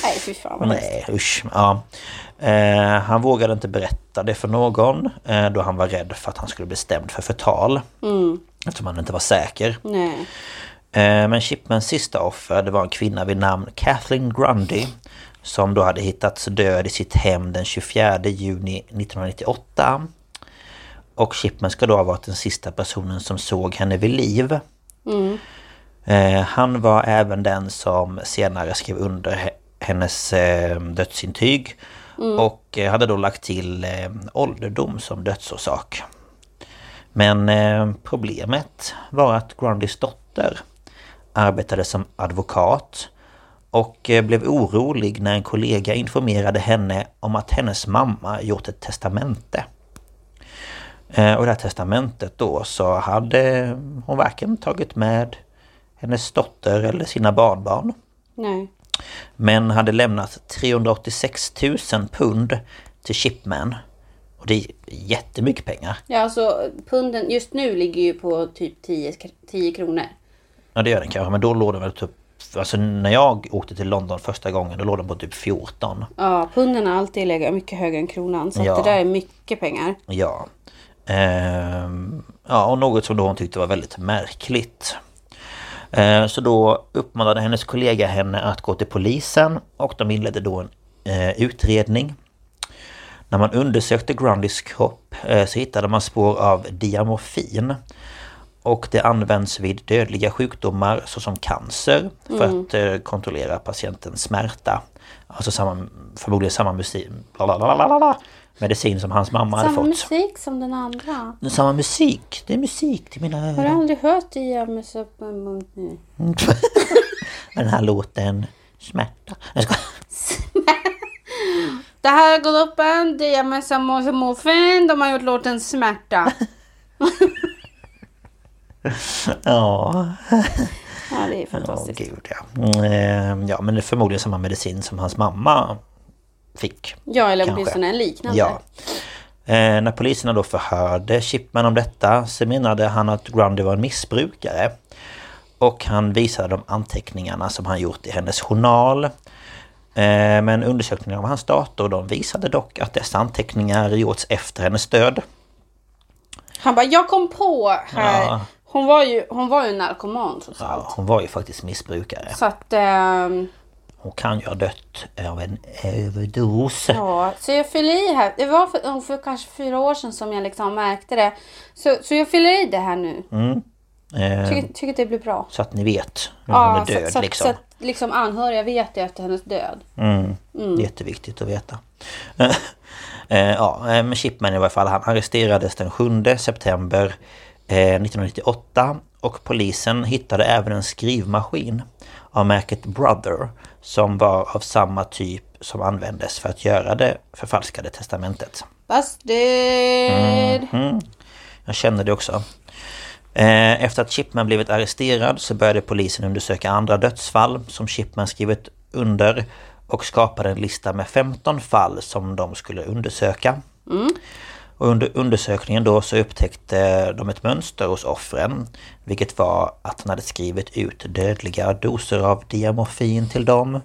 A: Nej, fy fy fan vad hemskt.
B: Nej, usch. Ja. Eh, han vågade inte berätta det för någon eh, då han var rädd för att han skulle bli stämd för förtal.
A: Mm.
B: Eftersom han inte var säker.
A: Nej.
B: Eh, Men Chipmans sista offer det var en kvinna vid namn Kathleen Grundy som då hade hittats död i sitt hem den 24 juni 1998. Och Chipman ska då ha varit den sista personen som såg henne vid liv. Eh, Han var även den som senare skrev under he- hennes eh, dödsintyg och eh, hade då lagt till eh, ålderdom som dödsorsak. Men eh, problemet var att Grundys dotter arbetade som advokat och eh, blev orolig när en kollega informerade henne om att hennes mamma gjort ett testamente. Eh, Och det här testamentet då så hade hon varken tagit med hennes dotter eller sina barnbarn.
A: Nej.
B: Men hade lämnat 386 000 pund till Shipman. Och det är jättemycket pengar.
A: Ja, alltså punden just nu ligger ju på typ 10, kr- 10 kronor.
B: Ja det gör den kanske, men då låg den väl typ... Alltså när jag åkte till London första gången då låg den på typ 14.
A: Ja, punden har alltid legat mycket högre än kronan. Så
B: Ja.
A: att det där är mycket pengar.
B: Ja. Ehm, ja, och något som då hon tyckte var väldigt märkligt. Eh, så då uppmanade hennes kollega henne att gå till polisen och de inledde då en eh, utredning. När man undersökte Grundys kropp eh, så hittade man spår av diamorfin. Och det används vid dödliga sjukdomar såsom cancer för
A: Mm.
B: att eh, kontrollera patientens smärta. Alltså samma, förmodligen samma musik, blablabla, medicin som hans mamma hade
A: Samma
B: fått.
A: musik som den andra.
B: Samma musik, det är musik till mina
A: Har du
B: öron.
A: aldrig hört Diamus upp emot nu?
B: (laughs) Den här låten, smärta. Jag skojar.
A: Det här är gruppen Diamus Amorfin. De har gjort låten
B: (laughs)
A: Smärta.
B: Ja,
A: Ja, det är
B: Åh
A: fantastiskt.
B: gud ja. Mm, ehm, Ja men det är förmodligen samma medicin som hans mamma fick.
A: ja, eller
B: Kanske.
A: åtminstone en liknande.
B: Ja. Eh, när poliserna då förhörde Chipman om detta så menade han att Grundy var en missbrukare. Och han visade de anteckningarna som han gjort i hennes journal. Eh, men undersökningar av hans dator de visade dock att dessa anteckningar gjorts efter hennes död.
A: Han bara, jag kom på här.
B: Ja.
A: Hon, var ju, hon var ju narkoman trots allt.
B: Ja, hon var ju faktiskt missbrukare.
A: Så att, ehm,
B: Hon kan ju ha dött av en överdos.
A: ja. Så jag fyller i här. Det var för, ungefär kanske fyra år sedan som jag liksom märkte det. Så, så jag fyller i det här nu.
B: Mm. Eh,
A: Tycker, tycker att det blir bra.
B: Så att ni vet när hon
A: Ja,
B: är död
A: så, så,
B: liksom.
A: så att liksom anhöriga vet ju efter hennes död.
B: Mm. Jätteviktigt att veta. (laughs) Eh, ja, eh, men Chipman i varje fall, han arresterades den 7 september eh, 1998 och polisen hittade även en skrivmaskin av märket Brother som var av samma typ som användes för att göra det förfalskade testamentet.
A: Busted!
B: Mm. Jag känner det också. Eh, Efter att Chipman blivit arresterad så började polisen undersöka andra dödsfall som Chipman skrivit under och skapade en lista med 15 fall som de skulle undersöka.
A: Mm.
B: Och under undersökningen då så upptäckte de ett mönster hos offren. Vilket var att han hade skrivit ut dödliga doser av diamorfin till dem.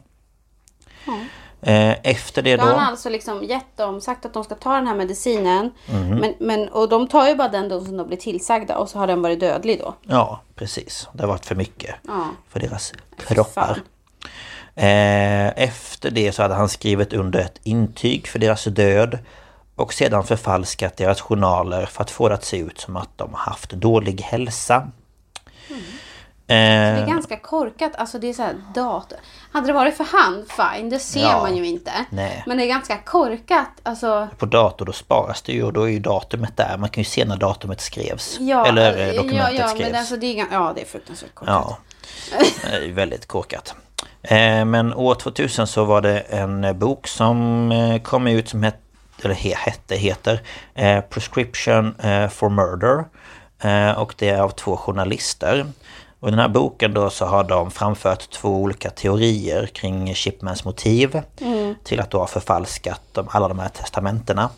B: Eh, Efter det
A: Då har han
B: då...
A: alltså liksom gett dem, sagt att de ska ta den här medicinen.
B: Mm.
A: Men, men, och de tar ju bara den dos som de blir tillsagda och så har den varit dödlig då.
B: Ja, precis. Det har varit för mycket
A: Ja.
B: för deras kroppar.
A: Fan.
B: Eh, Efter det så hade han skrivit under ett intyg för deras död och sedan förfalskat deras journaler för att få det att se ut som att de haft dålig hälsa.
A: Mm. Det är
B: Eh,
A: ganska korkat. Alltså det är så här dator. Hade det varit för hand, fine. Det ser
B: Ja.
A: man ju inte.
B: Nej.
A: Men det är ganska korkat. Alltså,
B: på dator då sparas det ju och då är ju datumet där. Man kan ju se när datumet skrevs.
A: ja,
B: Eller eh,
A: ja,
B: dokumentet
A: ja,
B: skrevs.
A: Men alltså, det är, gan- ja, det är fruktansvärt korkat.
B: Ja. Eh, Väldigt korkat. Eh, Men år 2000 så var det en eh, bok som eh, kom ut som het, eller he, hette, heter eh, Prescription eh, for Murder. Eh, Och det är av två journalister. Och i den här boken då så har de framfört två olika teorier kring Chipmans motiv till att då ha förfalskat de, alla de här testamentena.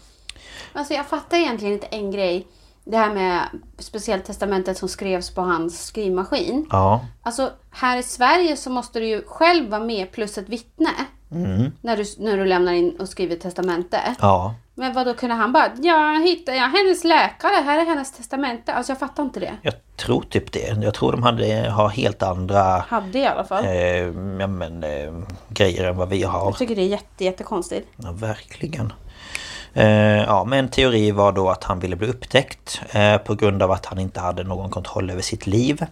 A: Alltså jag fattar egentligen inte en grej. det här med speciellt testamentet som skrevs på hans skrivmaskin.
B: Ja.
A: Alltså här i Sverige så måste du ju själv vara med plus ett vittne.
B: Mm.
A: När, du, när du lämnar in och skriver testamente.
B: Ja.
A: Men vad då kunde han bara, ja hittar jag hennes läkare, här är hennes testamente. Alltså jag fattar inte det.
B: Jag tror typ det. Jag tror de hade, har helt andra
A: Hade i alla fall.
B: eh, ja, men, eh, grejer än vad vi har.
A: Jag tycker det är jätte, jättekonstigt.
B: Ja, verkligen. Eh, ja, men en teori var då att han ville bli upptäckt eh, på grund av att han inte hade någon kontroll över sitt liv.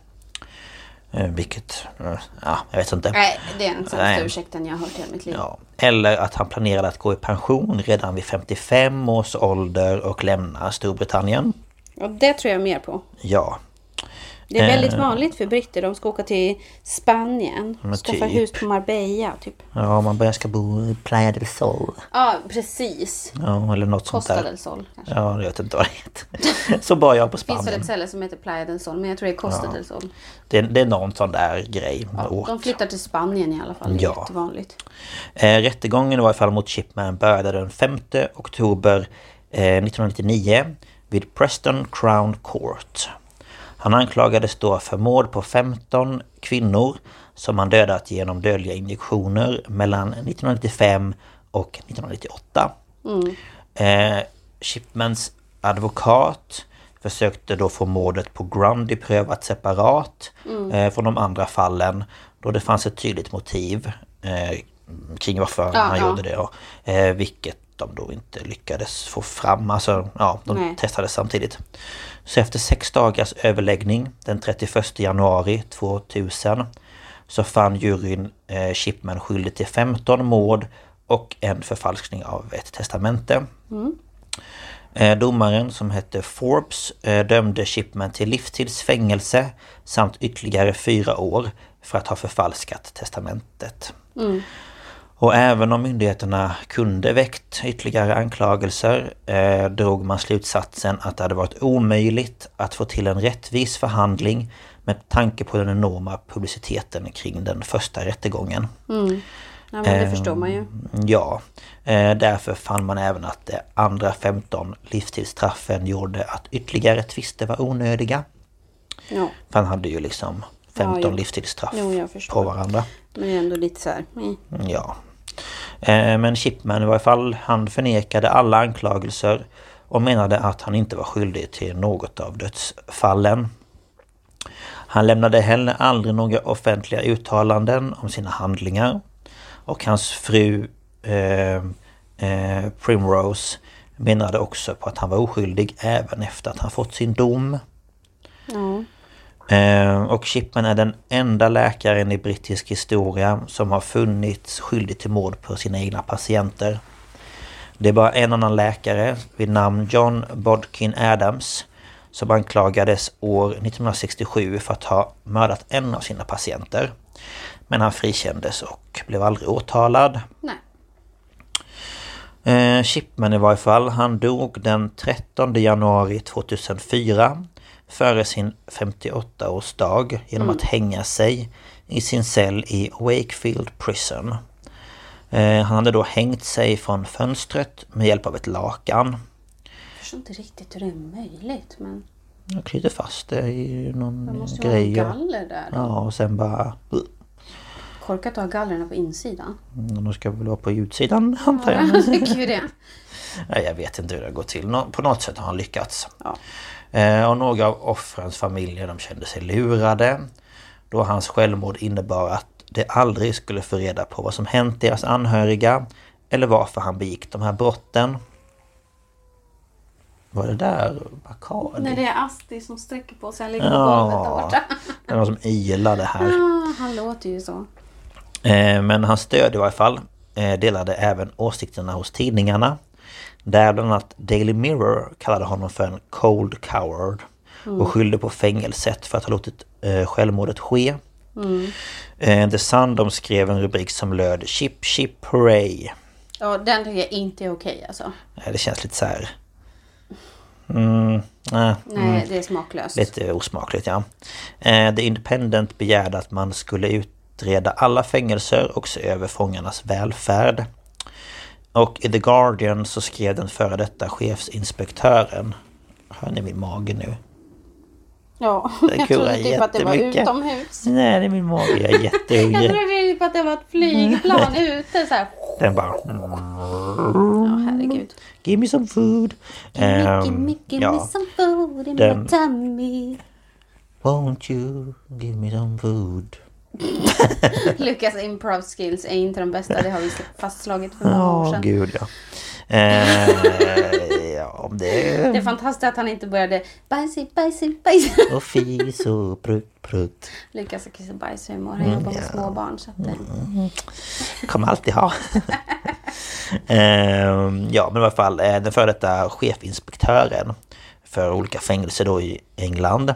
B: Eh, vilket... Eh, ja, jag vet inte.
A: Nej, det är den sämsta
B: Nej.
A: ursäkten jag har hört i hela mitt liv.
B: Ja. Eller att han planerade att gå i pension redan vid 55 års ålder och lämna Storbritannien.
A: Och det tror jag mer på.
B: Ja,
A: Det är väldigt
B: Eh.
A: vanligt för britter. De ska åka till Spanien.
B: Men
A: Skaffa
B: typ.
A: hus på Marbella typ.
B: ja man börjar ska bo i Playa del Sol.
A: Ja, precis.
B: Ja, eller något sånt
A: Costa
B: där.
A: del Sol kanske.
B: Ja, jag vet inte vad det heter. (laughs) Så bad jag på
A: Det finns väl
B: Spanien.
A: ett ställe som heter Playa del Sol, men jag tror det är Costa del Sol.
B: Det, det är någon sån där grej. åt.
A: De flyttar till Spanien i alla fall, det är
B: Ja.
A: jättevanligt.
B: Eh, rättegången i varje fall mot Chipman började den 5 oktober eh, 1999 vid Preston Crown Court. Han anklagades då för mord på 15 kvinnor som han dödat genom dödliga injektioner mellan 1995 och 1998. Eh, Chipmans advokat försökte då få mordet på Grundy prövat separat
A: Mm.
B: eh, från de andra fallen då det fanns ett tydligt motiv eh, kring varför han
A: ja.
B: gjorde det. Och, eh, vilket de då inte lyckades få fram. Alltså, ja, de
A: Nej.
B: testades samtidigt. Så efter sex dagars överläggning den 31 januari 2000 så fann juryn eh, Shipman skyldig till 15 mord och en förfalskning av ett testamente. Eh, Domaren som hette Forbes eh, dömde Shipman till livstids fängelse samt ytterligare fyra år för att ha förfalskat testamentet. Och även om myndigheterna kunde väckt ytterligare anklagelser eh, drog man slutsatsen att det hade varit omöjligt att få till en rättvis förhandling med tanke på den enorma publiciteten kring den första rättegången.
A: Mm. Ja, men det
B: Ehm,
A: förstår man ju.
B: Ja, eh, därför fann man även att de andra 15 livstidsstraffen gjorde att ytterligare tvister var onödiga.
A: Ja,
B: För han hade ju liksom
A: Ja,
B: 15
A: jo.
B: livstidsstraff
A: Jo, jag förstår.
B: på varandra.
A: men det är ändå lite så här. mm.
B: Ja. Eh, Men Chipman i varje fall, han förnekade alla anklagelser och menade att han inte var skyldig till något av dödsfallen. Han lämnade heller aldrig några offentliga uttalanden om sina handlingar. Och hans fru eh, eh, Primrose menade också på att han var oskyldig även efter att han fått sin dom.
A: Ja.
B: Eh, Och Chipman är den enda läkaren i brittisk historia som har funnits skyldig till mord på sina egna patienter. Det är bara en annan läkare vid namn John Bodkin Adams som anklagades år 1967 för att ha mördat en av sina patienter. Men han frikändes och blev aldrig åtalad.
A: Nej.
B: Eh, Shipman i varje fall, han dog den 13 januari 2004 före sin 58-årsdag genom
A: Mm.
B: att hänga sig i sin cell i Wakefield Prison. Eh, han hade då hängt sig från fönstret med hjälp av ett lakan.
A: Jag förstår inte riktigt hur det är möjligt. Men
B: Jag knyter fast det i
A: man
B: någon
A: måste ju
B: grej.
A: ha
B: och-
A: galler där. då.
B: Mm, Ja, och sen bara...
A: Korkat att ha gallerna på insidan.
B: De ska väl vara på ljudsidan antar jag.
A: Jag tycker ju det.
B: Nej, jag vet inte hur det går till. Nå- På något sätt har han lyckats.
A: Ja.
B: Eh, Och några av offrens familjer de kände sig lurade. Då hans självmord innebar att de aldrig skulle få reda på vad som hänt deras anhöriga. Eller varför han begick de här brotten. Var det där Bacardi?
A: Nej, det är Asti som sträcker på sig. Han ligger på golvet där
B: Ja,
A: borta.
B: det är någon som ilade här.
A: Ah, han låter ju så.
B: Eh, Men hans stöd i varje fall eh, delade även åsikterna hos tidningarna. Där bland annat Daily Mirror kallade honom för en cold coward. Och skyllde på fängelset för att ha låtit eh, självmordet ske. Eh, The Sun de skrev en rubrik som löd Chip Chip Hooray.
A: Ja, den tycker jag inte är okej alltså.
B: Eh, Det känns lite så här... Mm, nej,
A: Nej, Mm. det är smaklöst.
B: Lite osmakligt ja. Eh, The Independent begärde att man skulle utreda alla fängelser och se över fångarnas välfärd. Och i The Guardian så skrev den före detta chefsinspektören Hör ni min mage nu?
A: Ja,
B: Det
A: jag trodde
B: kurrar
A: typ att det var
B: jättemycket.
A: utomhus.
B: Nej, det är min mage.
A: (laughs)
B: Jag är
A: Jag
B: jättehungrig.
A: trodde typ att det var ett flygplan ute så här.
B: Den bara... "Mm,
A: Ja, herregud.
B: Give me some food.
A: Gimme,
B: Ehm,
A: gimme, gimme
B: ja.
A: some food in
B: den-
A: my tummy.
B: Won't you give me some food?
A: Lukas improv skills är inte de bästa, det har vi fastslagit för många
B: Ja,
A: år sedan.
B: gud ja. Eh, ja, om
A: Det är
B: det...
A: fantastiskt att han inte började bajsi, bajsi, bajsi.
B: Och fis och prutt, prutt.
A: Lukas har kiss och bajshumor, han jobbar med små barn så att eh, det...
B: kommer alltid ha. (laughs) Ehm, ja, men i alla fall eh, den före detta chefinspektören för olika fängelser då i England.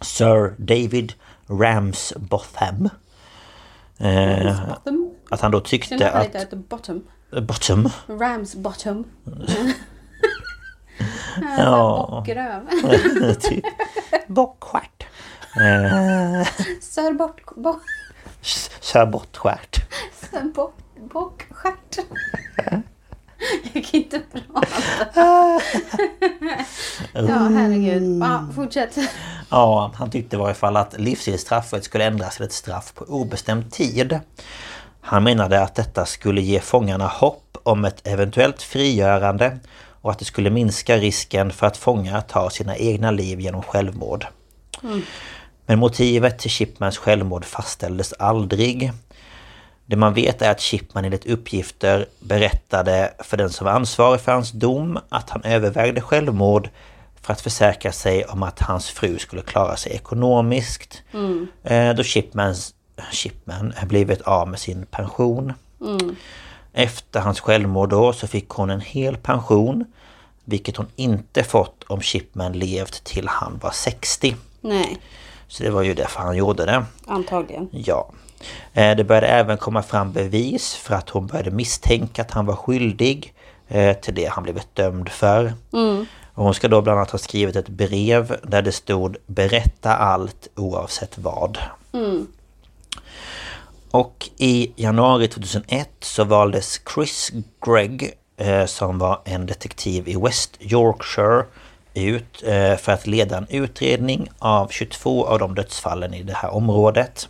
B: Sir David Ramsbotham. Eh,
A: Bottom.
B: att han då
A: Synd
B: tyckte
A: att han
B: att...
A: inte heter Bottom.
B: Bottom.
A: Rams Bottom.
B: Ja.
A: Bockröv. (laughs)
B: typ. Bockstjärt. Eh,
A: Sir Bock... Bock...
B: s- Sir Bottstjärt.
A: Sir Bock... Bockstjärt. (laughs) Jag kan inte prata. (laughs) Ja, herregud. Ja,
B: Mm.
A: fortsätt.
B: Ja, han tyckte i varje fall att livstidsstraffet skulle ändras till ett straff på obestämd tid. Han menade att detta skulle ge fångarna hopp om ett eventuellt frigörande och att det skulle minska risken för att fångar tar sina egna liv genom självmord. Men motivet till Chipmans självmord fastställdes aldrig. Det man vet är att Chipman enligt uppgifter berättade för den som var ansvarig för hans dom att han övervägde självmord för att försäkra sig om att hans fru skulle klara sig ekonomiskt. Eh, Då Chipmans, Chipman blivit av med sin pension. Efter hans självmord då så fick hon en hel pension. Vilket hon inte fått om Chipman levt till han var 60.
A: Nej,
B: Så det var ju därför han gjorde det.
A: antagligen.
B: Ja. Eh, Det började även komma fram bevis för att hon började misstänka att han var skyldig eh, till det han blivit dömd för. Och hon ska då bland annat ha skrivit ett brev där det stod Berätta allt oavsett vad. Och i januari 2001 så valdes Chris Gregg eh, som var en detektiv i West Yorkshire ut eh, för att leda en utredning av 22 av de dödsfallen i det här området.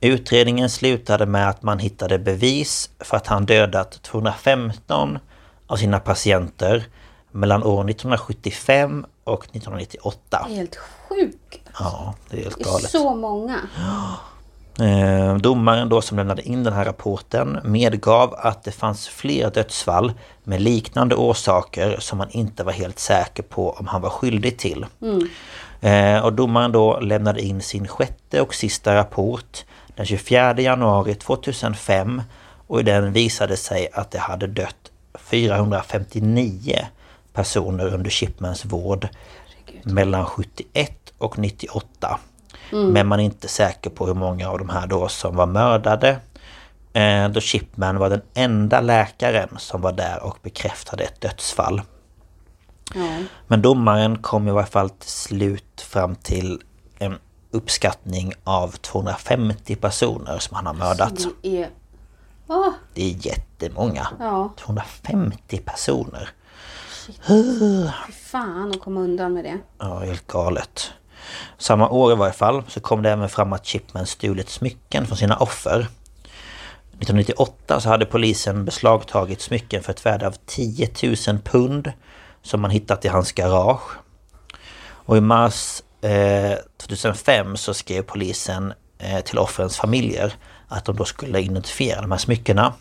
B: Utredningen slutade med att man hittade bevis för att han dödat 215 av sina patienter mellan år 1975 och 1998.
A: Helt sjuk.
B: Ja, det är helt
A: Det
B: galet.
A: är så många.
B: Eh, Domaren då som lämnade in den här rapporten medgav att det fanns fler dödsfall med liknande orsaker som man inte var helt säker på om han var skyldig till. Eh, Och domaren då lämnade in sin sjätte och sista rapport den 24 januari 2005 och i den visade sig att det hade dött 459 personer under Chipmans vård mellan 71 och 98. Men man är inte säker på hur många av de här då som var mördade. Eh, Då Chipman var den enda läkaren som var där och bekräftade ett dödsfall.
A: Ja.
B: Men domaren kom i varje fall till slut fram till en uppskattning av 250 personer som han har mördat.
A: Det är... Åh,
B: Det är jättemånga.
A: Ja.
B: 250 personer.
A: fy fan att komma undan med det.
B: Ja, helt galet. Samma år i varje fall så kom det även fram att Chipman stulit smycken från sina offer. 1998 så hade polisen beslagtagit smycken för ett värde av 10 000 pund som man hittat i hans garage. Och i mars eh, 2005 så skrev polisen eh, till offrens familjer att de då skulle identifiera de här smyckena.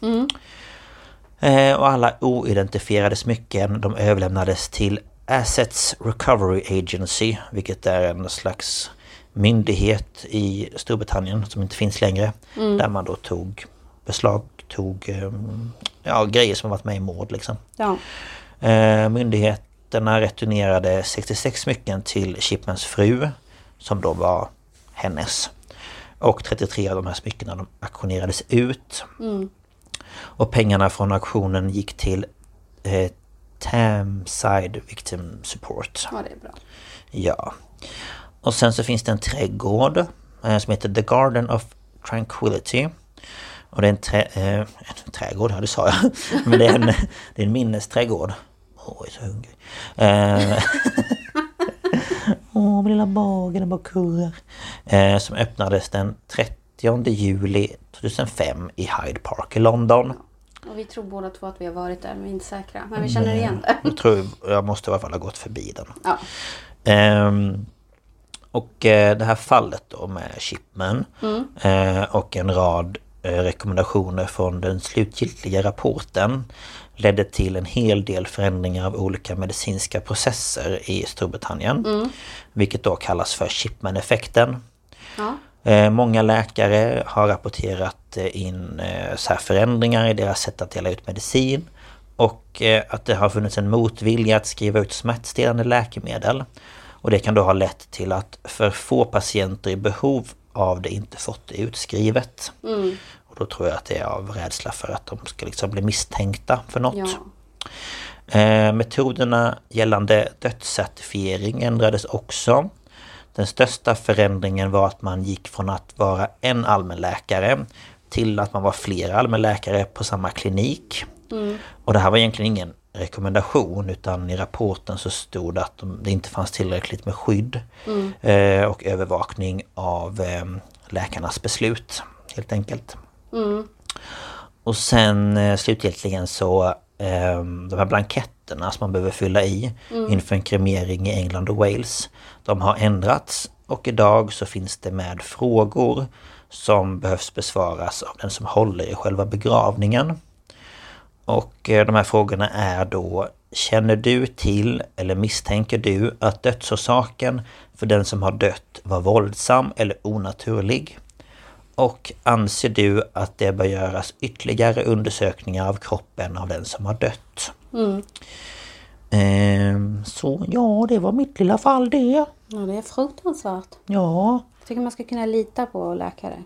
B: Eh, och alla oidentifierade smycken de överlämnades till Assets Recovery Agency, vilket är en slags myndighet i Storbritannien som inte finns längre. Där man då tog beslag, tog eh, ja, grejer som har varit med i mord liksom.
A: Ja.
B: Eh, myndigheterna returnerade 66 smycken till Chipmans fru som då var hennes. Och 33 av de här smyckena de auktionerades ut. Och pengarna från auktionen gick till eh, Tamside Victim Support.
A: ja, det är bra.
B: Ja. Och sen så finns det en trädgård eh, som heter The Garden of Tranquility. Och det är en, trä, eh, en (laughs) trädgård, ja det sa jag. Men det är en, det är en minnesträdgård. Åh, jag är så hungrig. Eh, (laughs) Åh, min lilla mage, den bara kurrar. Eh, som öppnades den 30 juli 2005 i Hyde Park i London.
A: Och vi tror båda två att vi har varit där men vi är inte säkra. Men vi känner igen det.
B: Mm. Jag tror jag måste i alla fall ha gått förbi den.
A: Ja.
B: Ehm, och eh, det här fallet då med Shipman eh, och en rad eh, rekommendationer från den slutgiltiga rapporten ledde till en hel del förändringar av olika medicinska processer i Storbritannien. Vilket då kallas för Shipman-effekten.
A: Ja.
B: Eh, Många läkare har rapporterat eh, in eh, så här förändringar i deras sätt att dela ut medicin. Och eh, att det har funnits en motvilja att skriva ut smärtstillande läkemedel. Och det kan då ha lett till att för få patienter i behov av det inte fått det utskrivet. Och då tror jag att det är av rädsla för att de ska liksom bli misstänkta för något.
A: ja.
B: Eh, metoderna gällande dödscertifiering ändrades också. Den största förändringen var att man gick från att vara en allmänläkare till att man var flera allmänläkare på samma klinik. Och det här var egentligen ingen rekommendation utan i rapporten så stod det att de, det inte fanns tillräckligt med skydd eh, och övervakning av eh, läkarnas beslut helt enkelt. Och sen eh, slutgiltigen så eh, de här blanketterna som man behöver fylla i inför en kremering i England och Wales. De har ändrats och idag så finns det med frågor som behövs besvaras av den som håller i själva begravningen. Och eh, de här frågorna är då Känner du till eller misstänker du att dödsorsaken för den som har dött var våldsam eller onaturlig? Och anser du att det bör göras ytterligare undersökningar av kroppen av den som har dött?
A: Mm.
B: Ehm, så ja, det var mitt lilla fall det.
A: ja, det är fruktansvärt.
B: Ja,
A: Jag tycker man ska kunna lita på läkare.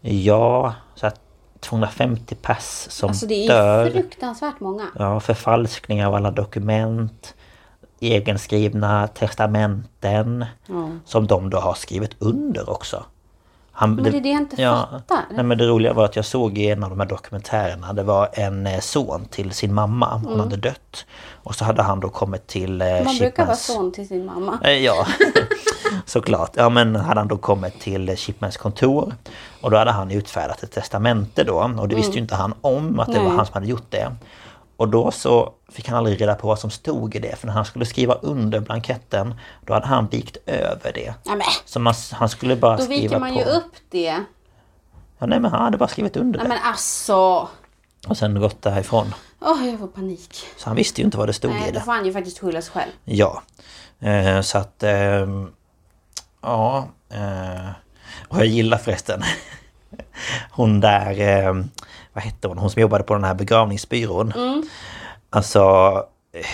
B: ja, så att 250 pers som
A: Alltså det är
B: dör.
A: ju fruktansvärt många.
B: Ja, förfalskning av alla dokument. Egenskrivna testamenten. Som de då har skrivit under också. Han,
A: Men det är det jag inte fattar.
B: Nej, men det roliga var att jag såg i en av de här dokumentärerna. Det var en eh, son till sin mamma. Hon hade dött. Och så hade han då kommit till eh,
A: Mm. Man brukar vara
B: Shipmans-
A: son till sin mamma.
B: Eh, Ja, (laughs) såklart. Ja, men hade han då kommit till Shipmans kontor och då hade han utfärdat ett testamente då och det visste ju inte han om att det var
A: Mm. Nej.
B: han som hade gjort det. Och då så fick han aldrig reda på vad som stod i det för när han skulle skriva under blanketten då hade han vikt över det.
A: Ja, men,
B: Så man, han skulle bara
A: då
B: skriva
A: viker man
B: på.
A: ju upp det.
B: Ja, nej men han hade bara skrivit under
A: Nej
B: det
A: men alltså!
B: och sen gått därifrån.
A: Åh, jag får panik.
B: Så han visste ju inte vad det stod i
A: Nej,
B: det.
A: då får han ju faktiskt skylla sig själv.
B: Ja. Eh, så att... ehm, ja. Eh, och jag gillar förresten (laughs) hon där... ehm, vad hette hon? Hon som jobbade på den här begravningsbyrån. Alltså... eh,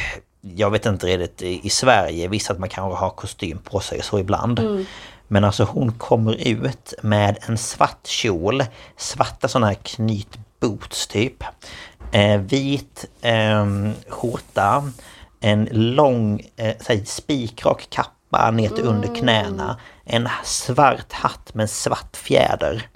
B: Jag vet inte redigt i, i Sverige, visst att man kanske har kostym på sig och så ibland. Men alltså hon kommer ut med en svart kjol, svarta sådana här knytboots typ. Eh, vit eh, skjorta, en lång eh, så här spikrak kappa ner till under knäna. En svart hatt med en svart fjäder.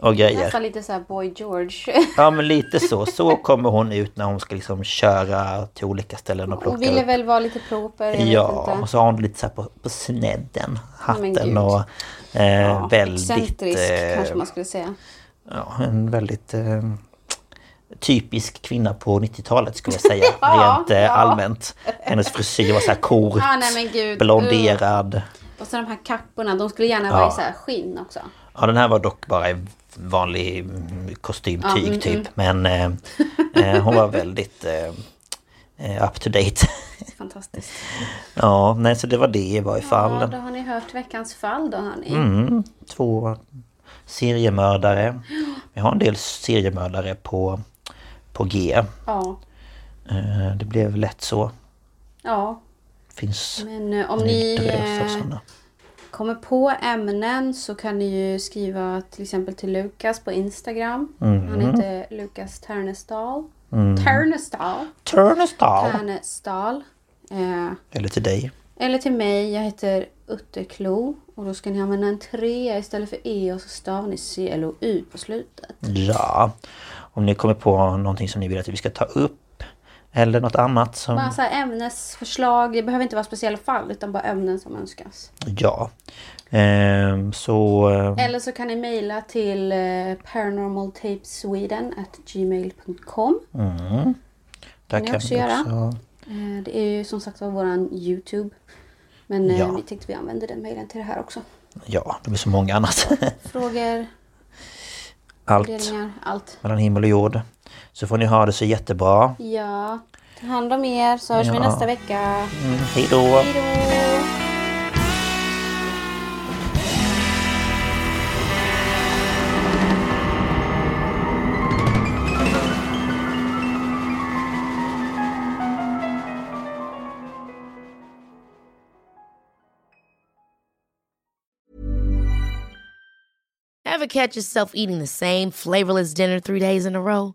B: Och grejer.
A: Nästan lite såhär Boy George.
B: Ja men lite så. Så kommer hon ut när hon ska liksom köra till olika ställen och plocka
A: Hon ville
B: upp.
A: väl vara lite proper, jag
B: Ja,
A: vet
B: och
A: inte.
B: så har hon lite så här på, på snedden.
A: men
B: Hatten
A: gud.
B: och eh, väldigt...
A: Excentrisk kanske
B: Eh,
A: man skulle säga.
B: ja, en väldigt eh, typisk kvinna på 90-talet skulle jag säga. rent eh,
A: (laughs) ja.
B: allmänt. Hennes frisyr var så här kort,
A: Ja, nej, men gud.
B: blonderad.
A: Och så de här kapporna, de skulle gärna vara i så här skinn också.
B: Ja, den här var dock bara i vanlig mm, kostymtyg typ.
A: mm.
B: Men eh, eh, hon var väldigt eh, eh, up to date. (laughs)
A: Fantastiskt.
B: ja, nej så det var det i varje fall.
A: Ja, då har ni hört veckans fall då hörni.
B: Mm, två seriemördare. Vi har en del seriemördare på, på G.
A: Ja.
B: Eh, Det blev lätt så.
A: Ja.
B: Finns
A: Men eh, om
B: en
A: ni...
B: drös av
A: eh,
B: sådana.
A: kommer på ämnen så kan ni ju skriva till exempel till Lukas på Instagram. Han heter Lukas Ternestal. Ternestal.
B: Turnstile!
A: Ternestal. Eh,
B: Eller till dig.
A: eller till mig, jag heter Utterklo. Och då ska ni använda en trea istället för E och så stavar ni C, L och U på slutet.
B: Ja. Om ni kommer på någonting som ni vill att vi ska ta upp Eller något annat som...
A: Bara så här ämnesförslag. Det behöver inte vara speciella fall utan bara ämnen som önskas.
B: Ja. Ehm, så... eh,
A: Eller så kan ni mejla till eh, paranormaltapesweden.gmail.com.
B: Där
A: ni
B: kan
A: också
B: vi
A: göra.
B: också...
A: Eh, Det är ju som sagt var våran Youtube. Men eh,
B: Ja.
A: vi tänkte vi använder den mejlen till det här också.
B: Ja, det blir så många annat. (laughs)
A: Frågor,
B: Allt
A: funderingar, allt.
B: mellan himmel och jord. Så får ni ha det så jättebra.
A: Ja, ta hand om er så hörs vi
B: Ja.
A: nästa vecka.
B: Mm, hej då!
A: Hej då!
D: Ever catch yourself eating the same flavorless dinner three days in a row?